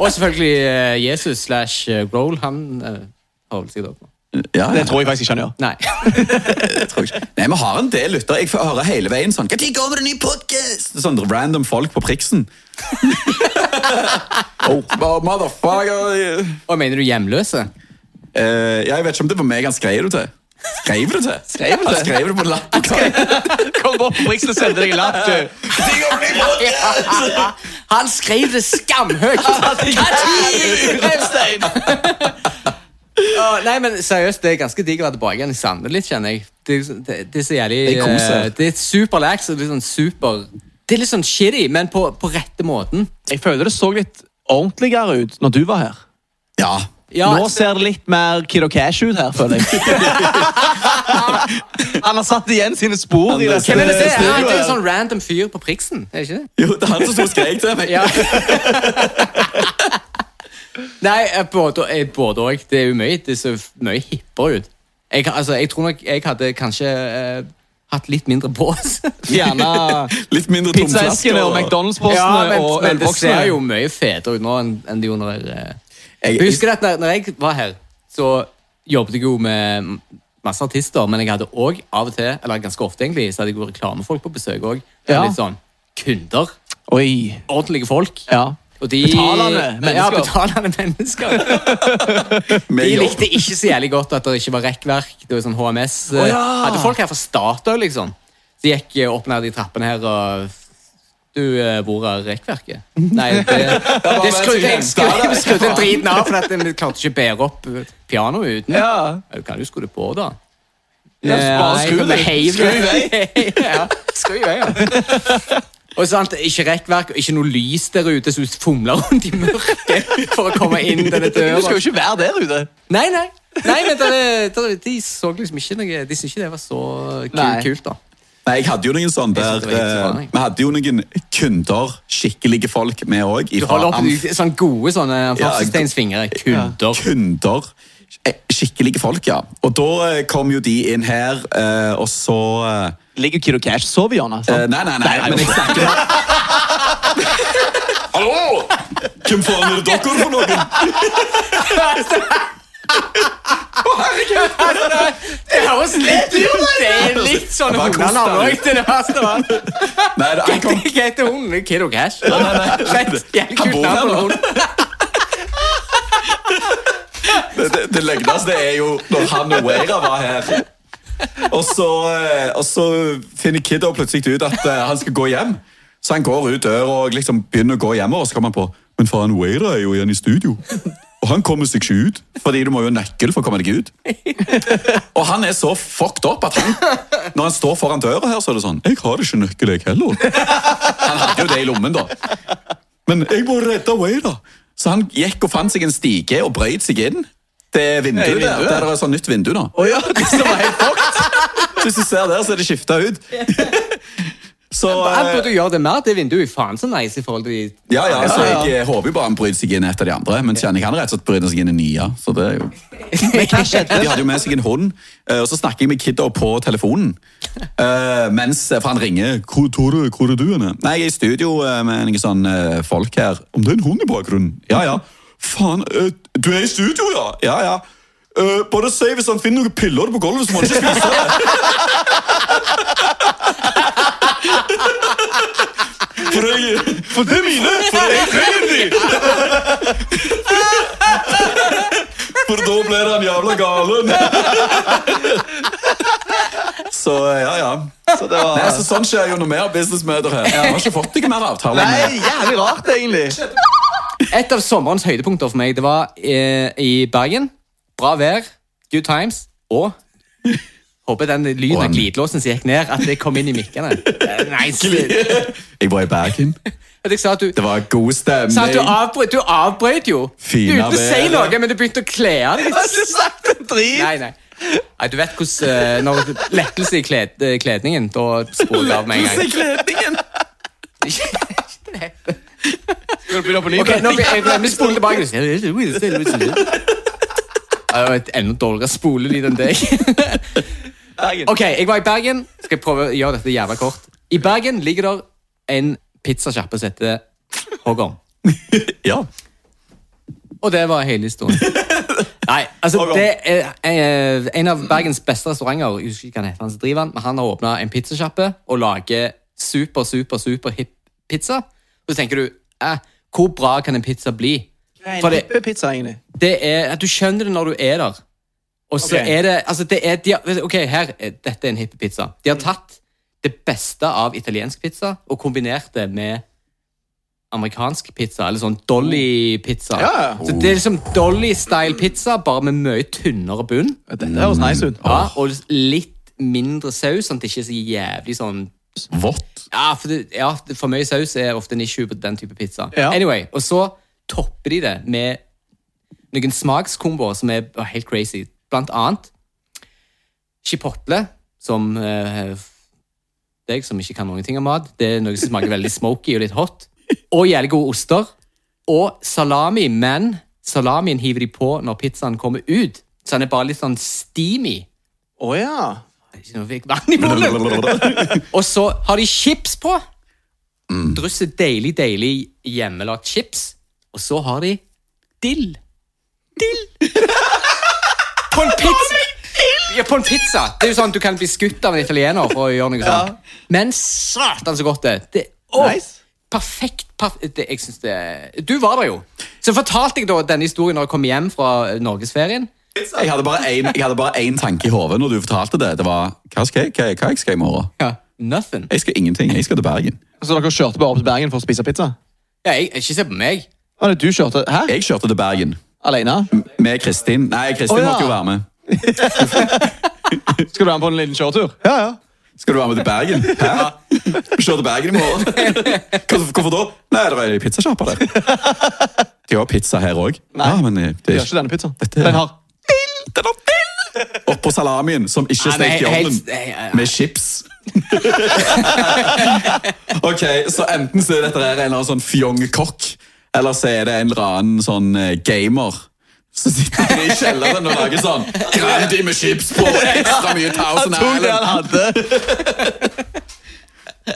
S3: Og selvfølgelig eh, Jesus slash eh, Grohl. Han eh, holder seg da på.
S1: Ja,
S2: Det tror jeg faktisk ikke han gjør.
S3: Nei.
S1: tror jeg ikke. Nei, Vi har en del lyttere. Jeg får høre hele veien sånn Når kommer det ny podkast? Sånn random folk på Priksen. oh, motherfucker.
S3: Og mener du hjemløse?
S1: Eh, jeg vet ikke om det var meg han skrev det til. Skrev du til?
S2: Skrev du til?
S1: Han skrev det på en lapp.
S2: Kom opp, Brix, og send deg en lapp, du.
S1: «Når kommer det ny podcast?»
S3: Han skrev det skamhøyt!
S2: Ulefstein.
S3: Å, nei, men seriøst, det er ganske digg å være tilbake igjen i Sande litt, kjenner jeg. Det, er liksom- det, det er så jævlig
S1: Det er kos,
S3: eh,
S1: ja.
S3: Det er superlax og litt sånn super Det er litt sånn shitty, men på, på rette måten.
S2: Jeg føler det så litt ordentligere ut når du var her.
S1: Ja.
S3: Ja,
S2: Nå ser det litt mer Kid og Cash ut her, føler jeg. han har satt igjen sine spor i
S1: Hvem
S3: men det, er- ja, det
S2: det
S3: er en
S2: studioet.
S3: sånn random fyr på Priksen, er det ikke det?
S1: Jo, det er han som sto og skrek til meg.
S3: Ja. Nei, eh, både eh, både og. Det er jo mye, det ser mye hippere ut. Jeg, kan- altså, jeg tror nok jeg hadde kanskje eh, hatt litt mindre bås.
S2: Gjerne
S1: Litt mindre tomflasker.
S2: pizzaeskene og McDonald's-postene og
S3: men det ser
S2: ølboksene.
S3: jo mye fetere ut nå enn, enn det gjorde når jeg eh,
S1: Jeg-
S3: Husker du at når, når jeg var her, så jobbet jeg jo med masse artister, men jeg hadde òg av og til, eller ganske ofte egentlig, så hadde jeg jo reklamefolk på besøk òg.
S2: Ja.
S3: Litt sånn kunder.
S2: Oi.
S3: Ordentlige folk.
S2: Ja.
S3: Og de,
S2: Betalende mennesker.
S3: Ja, betalende mennesker.
S1: Med
S3: De
S1: jobb.
S3: likte ikke så jævlig godt at det ikke var rekkverk. Det var sånn HMS.
S2: Å, ja.
S3: Hadde folk her fra Statoil, liksom. Så De gikk eh, opp ned de trappene her og Du, eh, hvor er rekkverket? Nei, det, det,
S1: bare
S3: skrudde
S1: en
S3: jeg
S1: som
S3: skrudde-
S1: glemte
S3: skrudde driten av, for at vi klarte ikke å bære opp eh, pianoet uten.
S2: Ja.
S3: Ja, Du kan jo skru det på, da. Eh,
S2: Ja, så bare skru det. Skru i
S3: vei. ja, skru i vei, ja. Og sant, Ikke rekkverk, ikke noe lys der ute, så du fomler rundt i mørket for å komme inn denne
S2: Du skal
S3: døra.
S2: jo ikke være der ute.
S3: Nei, nei. nei men der, er- der, er- de så liksom ikke noe De syntes ikke det var så
S2: Nei.
S3: kul, kult, da.
S1: Nei, jeg hadde jo noen sånne
S3: Jeg synes
S1: der
S3: det var helt
S1: eh,
S3: forbannet.
S1: Vi hadde jo noen kunder, skikkelige folk, vi òg.
S3: Du holder opp de- sånne gode sånne
S1: Ja,
S3: forsteinsfingre. Kunder.
S1: kunder. Eh, Skikkelige folk, ja. Og da eh, kom jo de inn her, eh, og så eh,
S2: Ligger Kid og Cash og sover i hjørnet?
S1: eh,
S2: sant?
S1: Nei, nei, nei,
S2: Nei,
S1: men jeg snakker Hallo! Hvem faen er det dere for noen?
S3: Det høres litt ut! Det er litt sånn
S1: Bare kos deg
S3: hundenavn
S1: litt.
S3: òg, til det verste. va?
S1: Nei, det- han kom
S3: Hva heter hunden? Kid og Cash?
S1: nei, nei.
S3: Fett, Jævlig
S1: Han
S3: kult
S1: bor
S3: navn
S1: her
S3: på
S1: nå.
S3: hunden.
S1: Det, det, det løgneste er jo når han og Weira var her. Og så, eh, og så finner Kiddo plutselig ut at eh, han skal gå hjem. Så han går ut døra og liksom begynner å gå hjemover, og så kommer han på Men faen, Weira er jo igjen i studio. Og han kommer seg ikke ut, fordi du må jo ha nøkkel for å komme deg ut. Og han er så fucked up at han, når han står foran døra her, så er det sånn Jeg har ikke nøkkel, jeg heller. Han hadde jo det i lommen, da. Men jeg må redde Wayda. Så han gikk og fant seg en stige og brøyt seg inn. Det vinduet
S2: Det er
S1: der.
S2: vinduet.
S1: Der er det sånn nytt vindu nå.
S2: Å ja, de som var helt fucked.
S1: Så Hvis du ser der, så er det skifta ut. Så
S3: Han
S1: eh,
S3: burde jo gjøre det mer. Det vinduet er faen så nice i forhold til de
S1: ja, ja, så
S2: Ja, ja.
S1: Jeg eh, håper jo bare han bryter seg inn etter de andre. Men kjenner jeg han rett og slett bryter seg inn i nye. Så det er jo...
S2: Men hva skjedde?
S1: De hadde jo med seg en hund, eh, og så snakker jeg med Kiddo på telefonen. Eh, Mens, For han ringer. Hvor, Tore, hvor er du? henne?» Nei, jeg er i studio eh, med noen sånne eh, folk her. Om det er en hund i bakgrunnen? Ja, ja. Faen, eh, du er i studio, ja? Ja, ja. Eh, bare si hvis han finner noen piller på gulvet, så må han ikke spise det. For, jeg, for det er mine! For jeg trenger de! For da blir han jævla galen. Så eh, ja, ja.
S2: Så det var...
S1: Nei, altså, sånn skjer jo når vi har businessmøter her. Jeg har ikke fått noen mer avtaler.
S2: Nei,
S1: med-
S2: jævlig rart, egentlig.
S3: Et av sommerens høydepunkter for meg, det var eh, i Bergen. Bra vær, good times, og Håper den lyden av
S1: Og-
S3: glidelåsen som gikk ned, at det kom inn i mikkene. Eh, Nice.
S1: Jeg var i Bergen.
S3: At jeg sa at du
S1: Det var god stemning.
S3: sa at du, avbrøt, du avbrøt jo.
S1: Fina
S3: du uten å si
S1: været.
S3: noe, men du begynte å kle av deg.
S2: Har ikke sagt en drit.
S3: Nei, nei. Nei, du vet hvordan eh, Når det er lettelse i kled, eh, kledningen, da sporer det av med en gang.
S1: kledningen!
S2: Skal du begynne på ny?
S3: Ok, nå blir jeg glemmer å spole tilbake. Det er jo et enda dårligere spolelyd enn deg.
S2: Bergen.
S3: Ok, jeg var i Bergen. Skal jeg prøve å gjøre dette jævla kort. I Bergen ligger der en pizzasjappe som heter Hoggorm.
S1: Ja.
S3: Og det var hele historien. Nei, altså
S1: Hoggorm.
S3: det er eh, en av Bergens beste restauranter. Jeg husker ikke hva han heter, han som driver den, men han har åpna en pizzasjappe og lager super, super, super hipp pizza. Og så tenker du eh, hvor bra kan en pizza bli? For det-
S2: pizza, egentlig.
S3: det er at du skjønner det når du er der. Og så
S2: Ok.
S3: er det altså det er, de har, Ok, her, er- dette er en hippie pizza. De
S2: Mm.
S3: har tatt det beste av italiensk pizza og kombinert det med amerikansk pizza, eller sånn Dolly-pizza.
S2: Oh. Ja.
S3: Så Det er liksom Dolly-style pizza, bare med mye tynnere bunn.
S2: Dette høres nice ut.
S3: Ja, og litt mindre saus, sånn at det ikke er så jævlig sånn
S1: Vått.
S3: ja, for, det, ja, det- for mye saus er ofte en issue på den type pizza.
S2: Ja.
S3: Anyway, Og så topper de det med noen smakskomboer som er bare helt crazy. Blant annet chipotle, som eh, deg som ikke kan noen ting om mat. Det er noe som smaker veldig smoky og litt hot. Og jævlig gode oster. Og salami, men salamien hiver de på når pizzaen kommer ut. Så den er bare litt sånn steamy.
S2: Å ja.
S3: Ikke noe fikk vann i munnen. Og så har de chips på. Drysser deilig, deilig hjemmelagt chips. Og så har de dill. Dill! på en pizza! Ja, på en pizza. Det er jo sånn at Du kan bli skutt av en italiener for å gjøre noe sånt. Men satan, så godt det er. Det- åh,
S2: Nice.
S3: Perfekt. perf- det, jeg synes det, du var der jo. Så fortalte jeg da denne historien når jeg kom hjem fra eh, norgesferien.
S1: Jeg hadde bare én- jeg hadde bare én tanke i hodet når du fortalte det. Det var hva skal jeg, hva, hva jeg skal i morgen?
S3: Ja. Nothing.
S1: Jeg skal ingenting. Jeg skal til Bergen.
S2: Så dere kjørte bare opp til Bergen for å spise pizza?
S3: Ja, jeg, ikke se på meg.
S2: Å, det du kjørte? Hæ?
S1: Jeg kjørte til Bergen
S2: Alene?
S1: med Kristin. Nei,
S2: Å,
S1: Kristin
S2: ja.
S1: måtte jo være med.
S2: Skal du være med på en liten kjøretur? Ja, ja.
S1: Skal du være med til Bergen? Hæ? Kjør til Bergen i morgen? Hvorfor, hvorfor da? Nei, det er pizzasjappa der. De har pizza her òg. Ja, men eh,
S2: Du
S1: det
S2: gjør ikke denne pizzaen.
S1: Dette er-
S2: Den har
S1: Den har dill! Oppå salamien, som ikke
S3: Nei,
S1: er
S3: men
S1: stekt i
S3: helt-
S1: ovnen.
S3: nei, eh, nei, nei.
S1: Med chips. ok, så enten så er dette her en eller annen sånn fjong kokk, eller så er det en eller annen sånn eh, gamer. Så sitter han i kjelleren og lager sånn Grandi med chips på! Ekstra mye Thousand Island.
S2: hadde.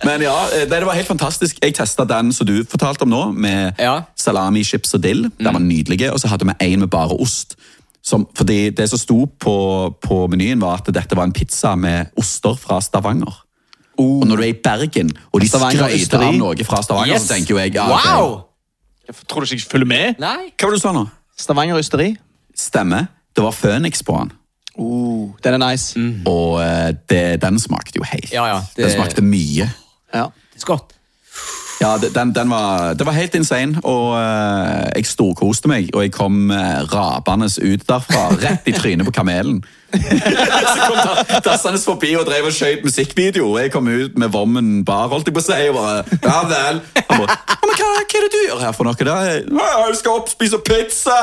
S1: Men ja, eh, nei, det var helt fantastisk. Jeg testa den som du fortalte om nå, med
S3: Ja. Mm.
S1: salami, chips og dill. Den var nydelig. Og så hadde vi en med bare ost. Som, fordi det som sto på, på menyen, var at dette var en pizza med oster fra Stavanger.
S3: Oh.
S1: Og når du er i Bergen, og de
S2: Stavanger,
S1: skryter av
S2: Østeri.
S1: noe fra Stavanger,
S3: Yes.
S1: så tenker jo jeg ja, ok.
S3: Wow!
S2: Tror du ikke jeg følger med?
S3: Nei.
S1: Hva var det du sa nå?
S2: Stavanger Ysteri.
S1: Stemmer. Det var Phoenix på den.
S2: Oh, den er nice.
S1: Og eh, det, den smakte jo helt.
S3: Mm. Ja, ja, det-
S1: Den smakte mye.
S2: Ja.
S3: Skott.
S1: Ja, det- den, den var, det var helt insane, og eh, jeg storkoste meg, og jeg kom uh, rabende ut derfra, rett i trynet på kamelen. Så kom da- dassende forbi og drev og skjøt musikkvideo, og jeg kom ut med vommen bar, holdt jeg på å si, og bare, ja vel. Han bare, «Ja, men hva, hva er det du gjør her for noe? Da? «Ja, Jeg skal opp og spise pizza!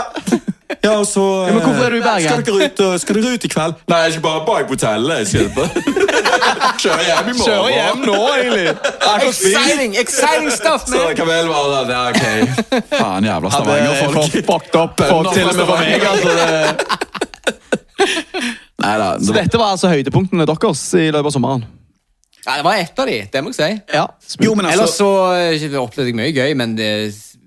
S1: Ja, og så...
S2: men hvorfor er du i
S1: eh,
S2: Bergen?
S1: Skal dere ut, og- skal dere ut i kveld? Nei, jeg skal bare bak på hotellet, jeg skal bare... Kjør hjem i morgen.
S2: nå, egentlig.
S3: Exciting, exciting stuff,
S1: Så
S3: man!
S1: det kan vel være det. Ja, ok. Faen jævla Stavanger-folk.
S2: eh, fucked up for, til og med for meg. Altså, det.
S1: Nei da.
S2: Så dette var altså høydepunktene deres i løpet av sommeren.
S3: Ja, det var ett av de, det må jeg si.
S2: Ja.
S1: Jo, men
S3: Ellers
S1: altså,
S3: så eh, opplevde jeg mye gøy, men det er s-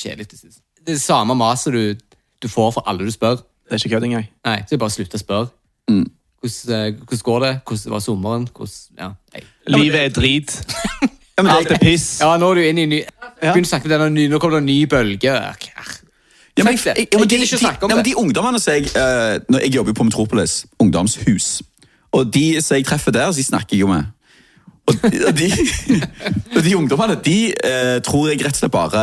S3: kjedelig. til sist. Det er samme maset du, du får fra alle du spør.
S2: Det er ikke kødd engang.
S3: Nei, så jeg bare slutter å spørre.
S1: Mm.
S3: Hvordan, eh, hvordan går det? Hvordan var sommeren? Hvordan, ja, nei.
S2: Livet er drit.
S1: ja, men
S2: Alt
S1: det,
S2: er piss.
S3: ja, nå er du inne i ny...
S2: Ja.
S3: Begynn å snakke om denne nye, nå kommer det en ny bølge. Ak, ak.
S1: ja, men,
S3: Tenk det.
S1: jeg- ja,
S3: Jeg
S1: men de,
S3: gidder ikke å snakke om
S1: de, ja,
S3: det.
S1: men de ungdommene som jeg eh, når Jeg jobber jo på Metropolis ungdomshus. Og de som jeg treffer der, så de snakker jeg jo med. Og de, og de, og de ungdommene de eh, tror jeg rett og slett bare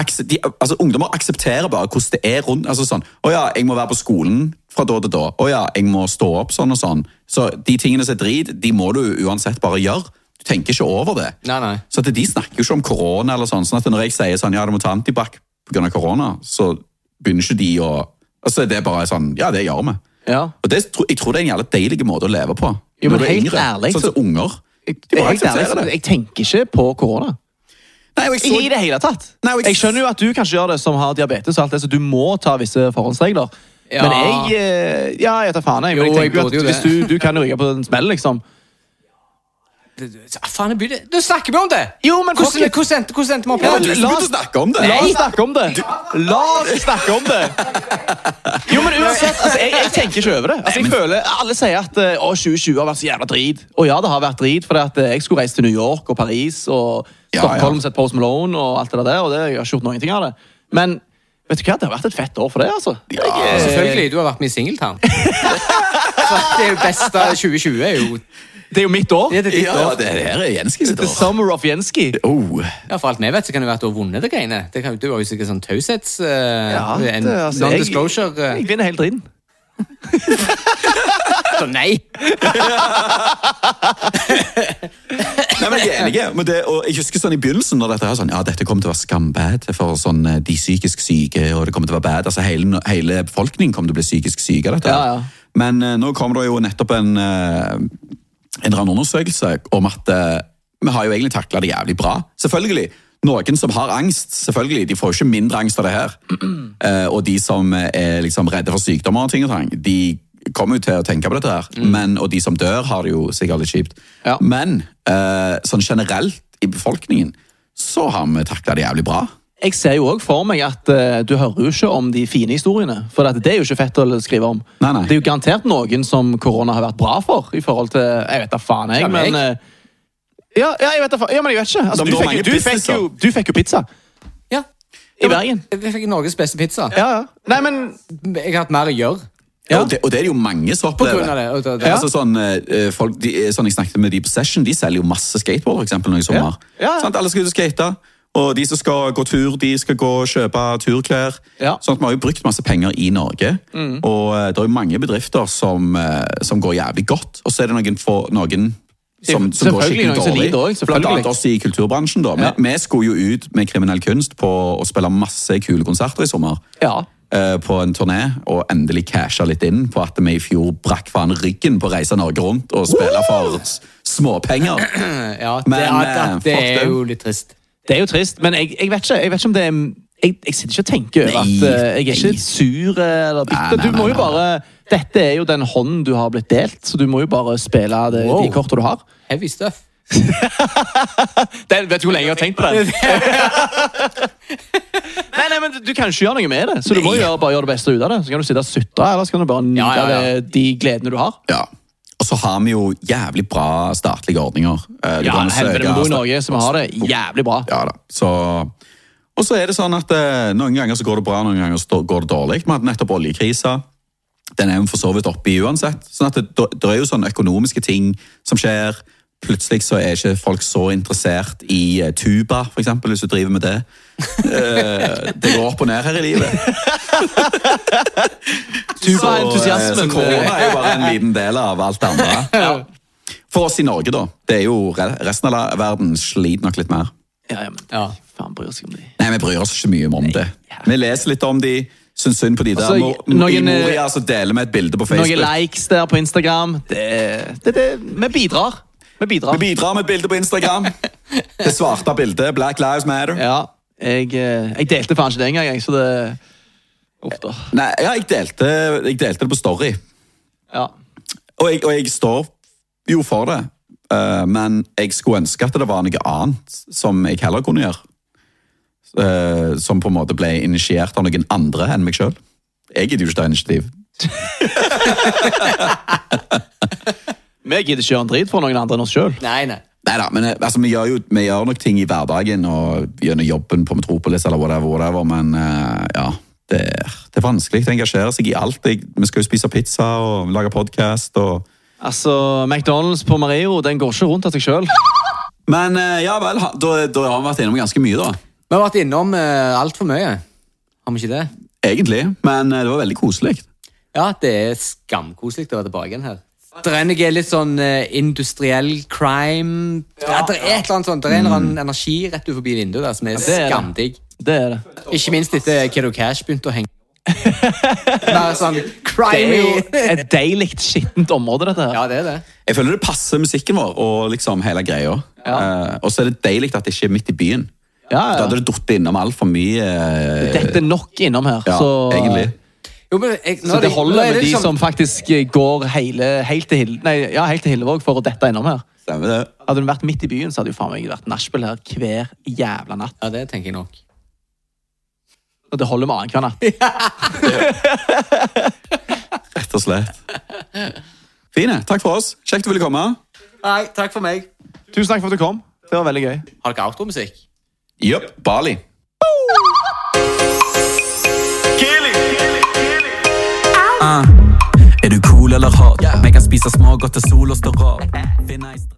S1: akse- de, altså Ungdommer aksepterer bare hvordan det er rundt. altså sånn, 'Å ja, jeg må være på skolen fra da til da.' 'Å ja, jeg må stå opp sånn og sånn.' Så de tingene som er drit, de må du uansett bare gjøre. Du tenker ikke over det.
S3: Nei, nei.
S1: Så at De snakker jo ikke om korona. eller sånn, sånn at Når jeg sier sånn, ja, du må ta antibac pga. korona, så begynner ikke de å altså Det er bare sånn Ja, det gjør vi.
S2: Ja.
S1: Og det, tro- Jeg tror det er en jævla deilig måte å leve på.
S2: Jo, men
S1: når du er
S2: helt
S1: yngre,
S2: ærlig,
S1: Sånn
S2: så-
S1: som unger.
S2: Jeg,
S1: De bare
S2: helt ærlig,
S1: aksepterer det.
S2: jeg tenker ikke på korona.
S1: Nei, og jeg
S2: Ikke i
S1: så,
S2: det hele tatt.
S1: Nei, og jeg-
S2: Jeg skjønner jo at du kanskje gjør det som har diabetes, og alt det, så du må ta visse forhåndsregler.
S3: Ja.
S2: Men jeg eh, Ja, jeg tar faen, jeg. Men
S3: Jo,
S2: jeg
S3: jeg
S2: tenker jo
S3: burde jo
S2: at hvis
S3: det.
S2: du, du kan jo ryke på en smell, liksom.
S3: Det- det- så- Faen, jeg begynner... Nå snakker vi om det!
S2: Jo, men fuck
S3: Hvordan,
S2: it.
S3: hvordan, endte, hvordan endte vi opp
S1: ja,
S3: her?
S1: men du som
S2: la oss-
S1: begynte å snakke om det!
S2: La oss snakke om det! La oss snakke om det! Jo, men uansett, altså, jeg, jeg tenker ikke over det. Altså, jeg føler, Alle sier at eh, å, 2020 har vært så jævla drit. Og ja, det har vært drit, for jeg skulle reise til New York og Paris og
S1: Ja,
S2: Stockholm
S1: ja.
S2: sett Post Malone og alt det der, og det, jeg har ikke gjort noen ting av det. Men vet du hva, det har vært et fett år for det, altså. Jeg, eh,
S3: Selvfølgelig, du har vært med i Singeltown. Så Altså, Det er jo beste 2020 er jo
S2: Det er jo mitt år.
S3: Det er det ditt
S1: Ja,
S3: år.
S1: det her er Jenski sitt
S2: The
S1: år.
S2: Summer of Jenski.
S1: Oh.
S3: Ja, For alt vi vet, så kan det være at du har vunnet det greiene. Det kan, du har jo sikkert sånn taushets... Uh, en Non-disclosure.
S2: altså- jeg,
S3: eh.
S2: jeg vinner helt inn.
S3: Så nei!
S1: Nei, men jeg er enig. Men det, og jeg husker sånn i begynnelsen når dette her sånn, ja, dette kommer til å være skambad for sånn, eh, de psykisk syke. og det kommer til å være bad. Altså, hele, hele befolkningen kommer til å bli psykisk syke av dette. her.
S2: Ja, ja.
S1: Men eh, nå kommer det jo nettopp en, eh, en eller annen undersøkelse om at eh, vi har jo egentlig takla det jævlig bra. Selvfølgelig. Noen som har angst, selvfølgelig, de får jo ikke mindre angst av det her. Eh, og de som er liksom redde for sykdommer og ting og tang, de kommer jo til å tenke på dette her.
S3: Mm.
S1: Men, og de som dør, har det jo sikkert litt kjipt.
S2: Ja.
S1: Men eh, sånn generelt i befolkningen så har vi takla det jævlig bra.
S2: jeg ser jo òg for meg at eh, du hører jo ikke om de fine historiene. For at det er jo ikke fett å skrive om.
S1: Nei, nei.
S2: Det er jo garantert noen som korona har vært bra for. I forhold til Jeg vet da faen, jeg,
S3: Ja, meg.
S2: men eh, ja, ja, jeg vet da faen. Ja, men jeg vet ikke. Altså, du,
S1: Men det var
S2: fikk, jo-
S1: mange
S2: du, fikk jo, du fikk jo pizza
S3: Ja.
S2: i Bergen.
S3: Jeg fikk Norges beste pizza.
S2: Ja, ja. Nei, men
S3: Jeg har hatt mer å gjøre
S2: ja.
S1: Og, det, og det er det jo mange som
S3: på
S1: opplever.
S3: grunn av det. Og det- det-
S1: Ja. Altså sånn, eh, folk, de, eh, sånn Jeg snakket med de på Session. De selger jo masse skateboard for eksempel, nå i sommer.
S2: Ja. Ja.
S1: Sånn, alle skal ut og skate. Og de som skal gå tur, de skal gå og kjøpe turklær.
S2: Ja. Mm.
S1: Sånn at Vi har jo brukt masse penger i Norge. Og eh, det er jo mange bedrifter som, eh, som går jævlig godt. Og så er det noen, få- noen som, som går
S2: Selvfølgelig
S1: skikkelig
S2: noen som
S1: dårlig.
S2: lider også,
S1: Blant
S2: selvfølgelig.
S1: annet oss i kulturbransjen. da.
S2: Ja.
S1: Vi, vi skulle jo ut med kriminell kunst på å spille masse kule konserter i sommer
S2: ja.
S1: eh, på en turné og endelig casha litt inn på at vi i fjor brakk faen ryggen på å reise Norge rundt og spille for s- småpenger.
S3: Ja, det,
S1: Men,
S3: at,
S1: eh,
S3: at det
S1: fuck
S3: er
S1: dem.
S3: jo litt trist.
S2: Det er jo trist, men jeg, jeg, vet, ikke, jeg vet ikke om det er jeg, jeg sitter ikke og tenker over at
S1: Nei,
S2: eh, jeg er
S1: nei.
S2: ikke sur eh, eller
S1: Nei,
S2: bitter.
S1: nei,
S2: Du må
S1: nei,
S2: jo
S1: nei,
S2: bare Dette er jo den hånden du har blitt delt, så du må jo bare spille det, de
S3: Wow.
S2: kortene du har.
S3: Heavy stuff.
S2: Den vet du hvor lenge jeg har tenkt på den. nei, nei, men Du kan ikke gjøre noe med det, så du må jo gjøre, bare gjøre det beste ut av det. Så kan du sitte og sutre, eller så kan du bare nyte
S3: Ja, ja, ja.
S2: det- de gledene du har.
S1: Ja. Og så har vi jo jævlig bra statlige ordninger. Eh, du
S2: Ja,
S1: kan søke-
S2: helvete, Vi bor i Norge, så vi har det jævlig bra.
S1: Ja da. Så... Og så er det sånn at eh, noen ganger så går det bra, noen ganger så da- går det dårlig. Vi hadde nettopp oljekrisa. Den er vi for så vidt oppe i uansett. Sånn at det, det er jo sånne økonomiske ting som skjer. Plutselig så er ikke folk så interessert i eh, tuba, for eksempel, hvis du driver med det. Eh, det går opp og ned her i livet. eh,
S2: Tuba-entusiasmen.
S1: så korona er jo bare en liten del av alt det andre. For oss i Norge, da. Det er jo re- resten av la- verden sliter nok litt mer.
S2: Ja, ja, men
S3: Ja.
S2: faen bryr seg om de.
S1: Nei, vi bryr oss ikke mye om det. Vi leser litt om de, syns synd på de der.
S2: Altså,
S1: Mo- I
S2: noen, eh,
S1: Moria så deler vi et bilde på
S2: Noen
S1: Facebook.
S2: likes der på Instagram. Det, det, det, vi bidrar. Vi
S1: Vi
S2: bidrar.
S1: bidrar med et bilde på Instagram. Det svarte bildet. Black Lives Matter.
S2: Ja, jeg, eh, jeg delte faen ikke det engang, jeg, så det Uff da.
S1: Nei, ja, jeg delte, jeg delte det på Story.
S2: Ja.
S1: Og jeg, og jeg står jo for det. Eh, men jeg skulle ønske at det var noe annet som jeg heller kunne gjøre. Eh, som på en måte ble initiert av noen andre enn meg sjøl. Jeg gidder jo ikke ta initiativ.
S2: Vi gidder ikke gjøre en drit for noen andre enn oss sjøl.
S3: Nei, nei.
S1: Neida, men eh, altså, vi, gjør jo, vi gjør nok ting i hverdagen og gjennom jobben på Metropolis eller whatever, whatever men eh, ja, det, er- det er vanskelig å engasjere seg i alt. Jeg, vi skal jo spise pizza og lage podcast. Og...
S2: Altså, McDonald's på Mario den går ikke rundt av seg sjøl.
S1: Men eh, ja vel, ha- da, da har vi vært innom ganske mye da,
S3: Vi har vært innom uh, altfor mye. Har vi ikke det?
S1: egentlig, men eh, det var veldig koselig.
S3: Ja, det er skamkoselig å være tilbake igjen her. Drenig er litt sånn eh, industriell crime. Ja, det er et eller annet sånt. Det er en eller annen energi rett ut forbi vinduet der som er
S2: Mm. det er det.
S3: skamdigg.
S2: Det er det.
S3: Ikke minst etter Kiddo Cash begynte å henge. Mer sånn
S2: Det er jo
S3: crimey.
S2: et deilig skittent område, dette her.
S3: Ja, det er det.
S1: Jeg føler det passer musikken vår og liksom hele greia.
S2: Ja.
S1: Eh, og så er det deilig at det ikke er midt i byen.
S2: Ja,
S1: Da
S2: ja.
S1: hadde det duttet innom alt for mye. eh,
S2: Dette er nok innom her.
S1: ja,
S2: så,
S1: egentlig.
S3: Jo, men jeg, nå
S2: så
S3: er
S2: det
S3: nå er
S2: holder med
S3: det
S2: de
S3: liksom-
S2: som faktisk går hele, helt til Hill- nei, ja, helt til Hillevåg for å dette innom her.
S1: Stemmer det.
S2: Hadde hun vært midt i byen, så hadde jo faen meg vært nachspiel her hver jævla natt.
S3: Ja, det tenker jeg nok.
S2: Og det holder med annenhver natt.
S1: Rett og slett. Fine. Takk for oss. Kjekt du ville komme.
S3: Nei, takk for meg.
S2: Tusen takk for at du kom. Det var veldig gøy.
S3: Har dere outromusikk?
S1: Jepp. Bali.
S4: Er du cool eller hot? Vi kan spise smågodt til sola står opp. Finn ei strand-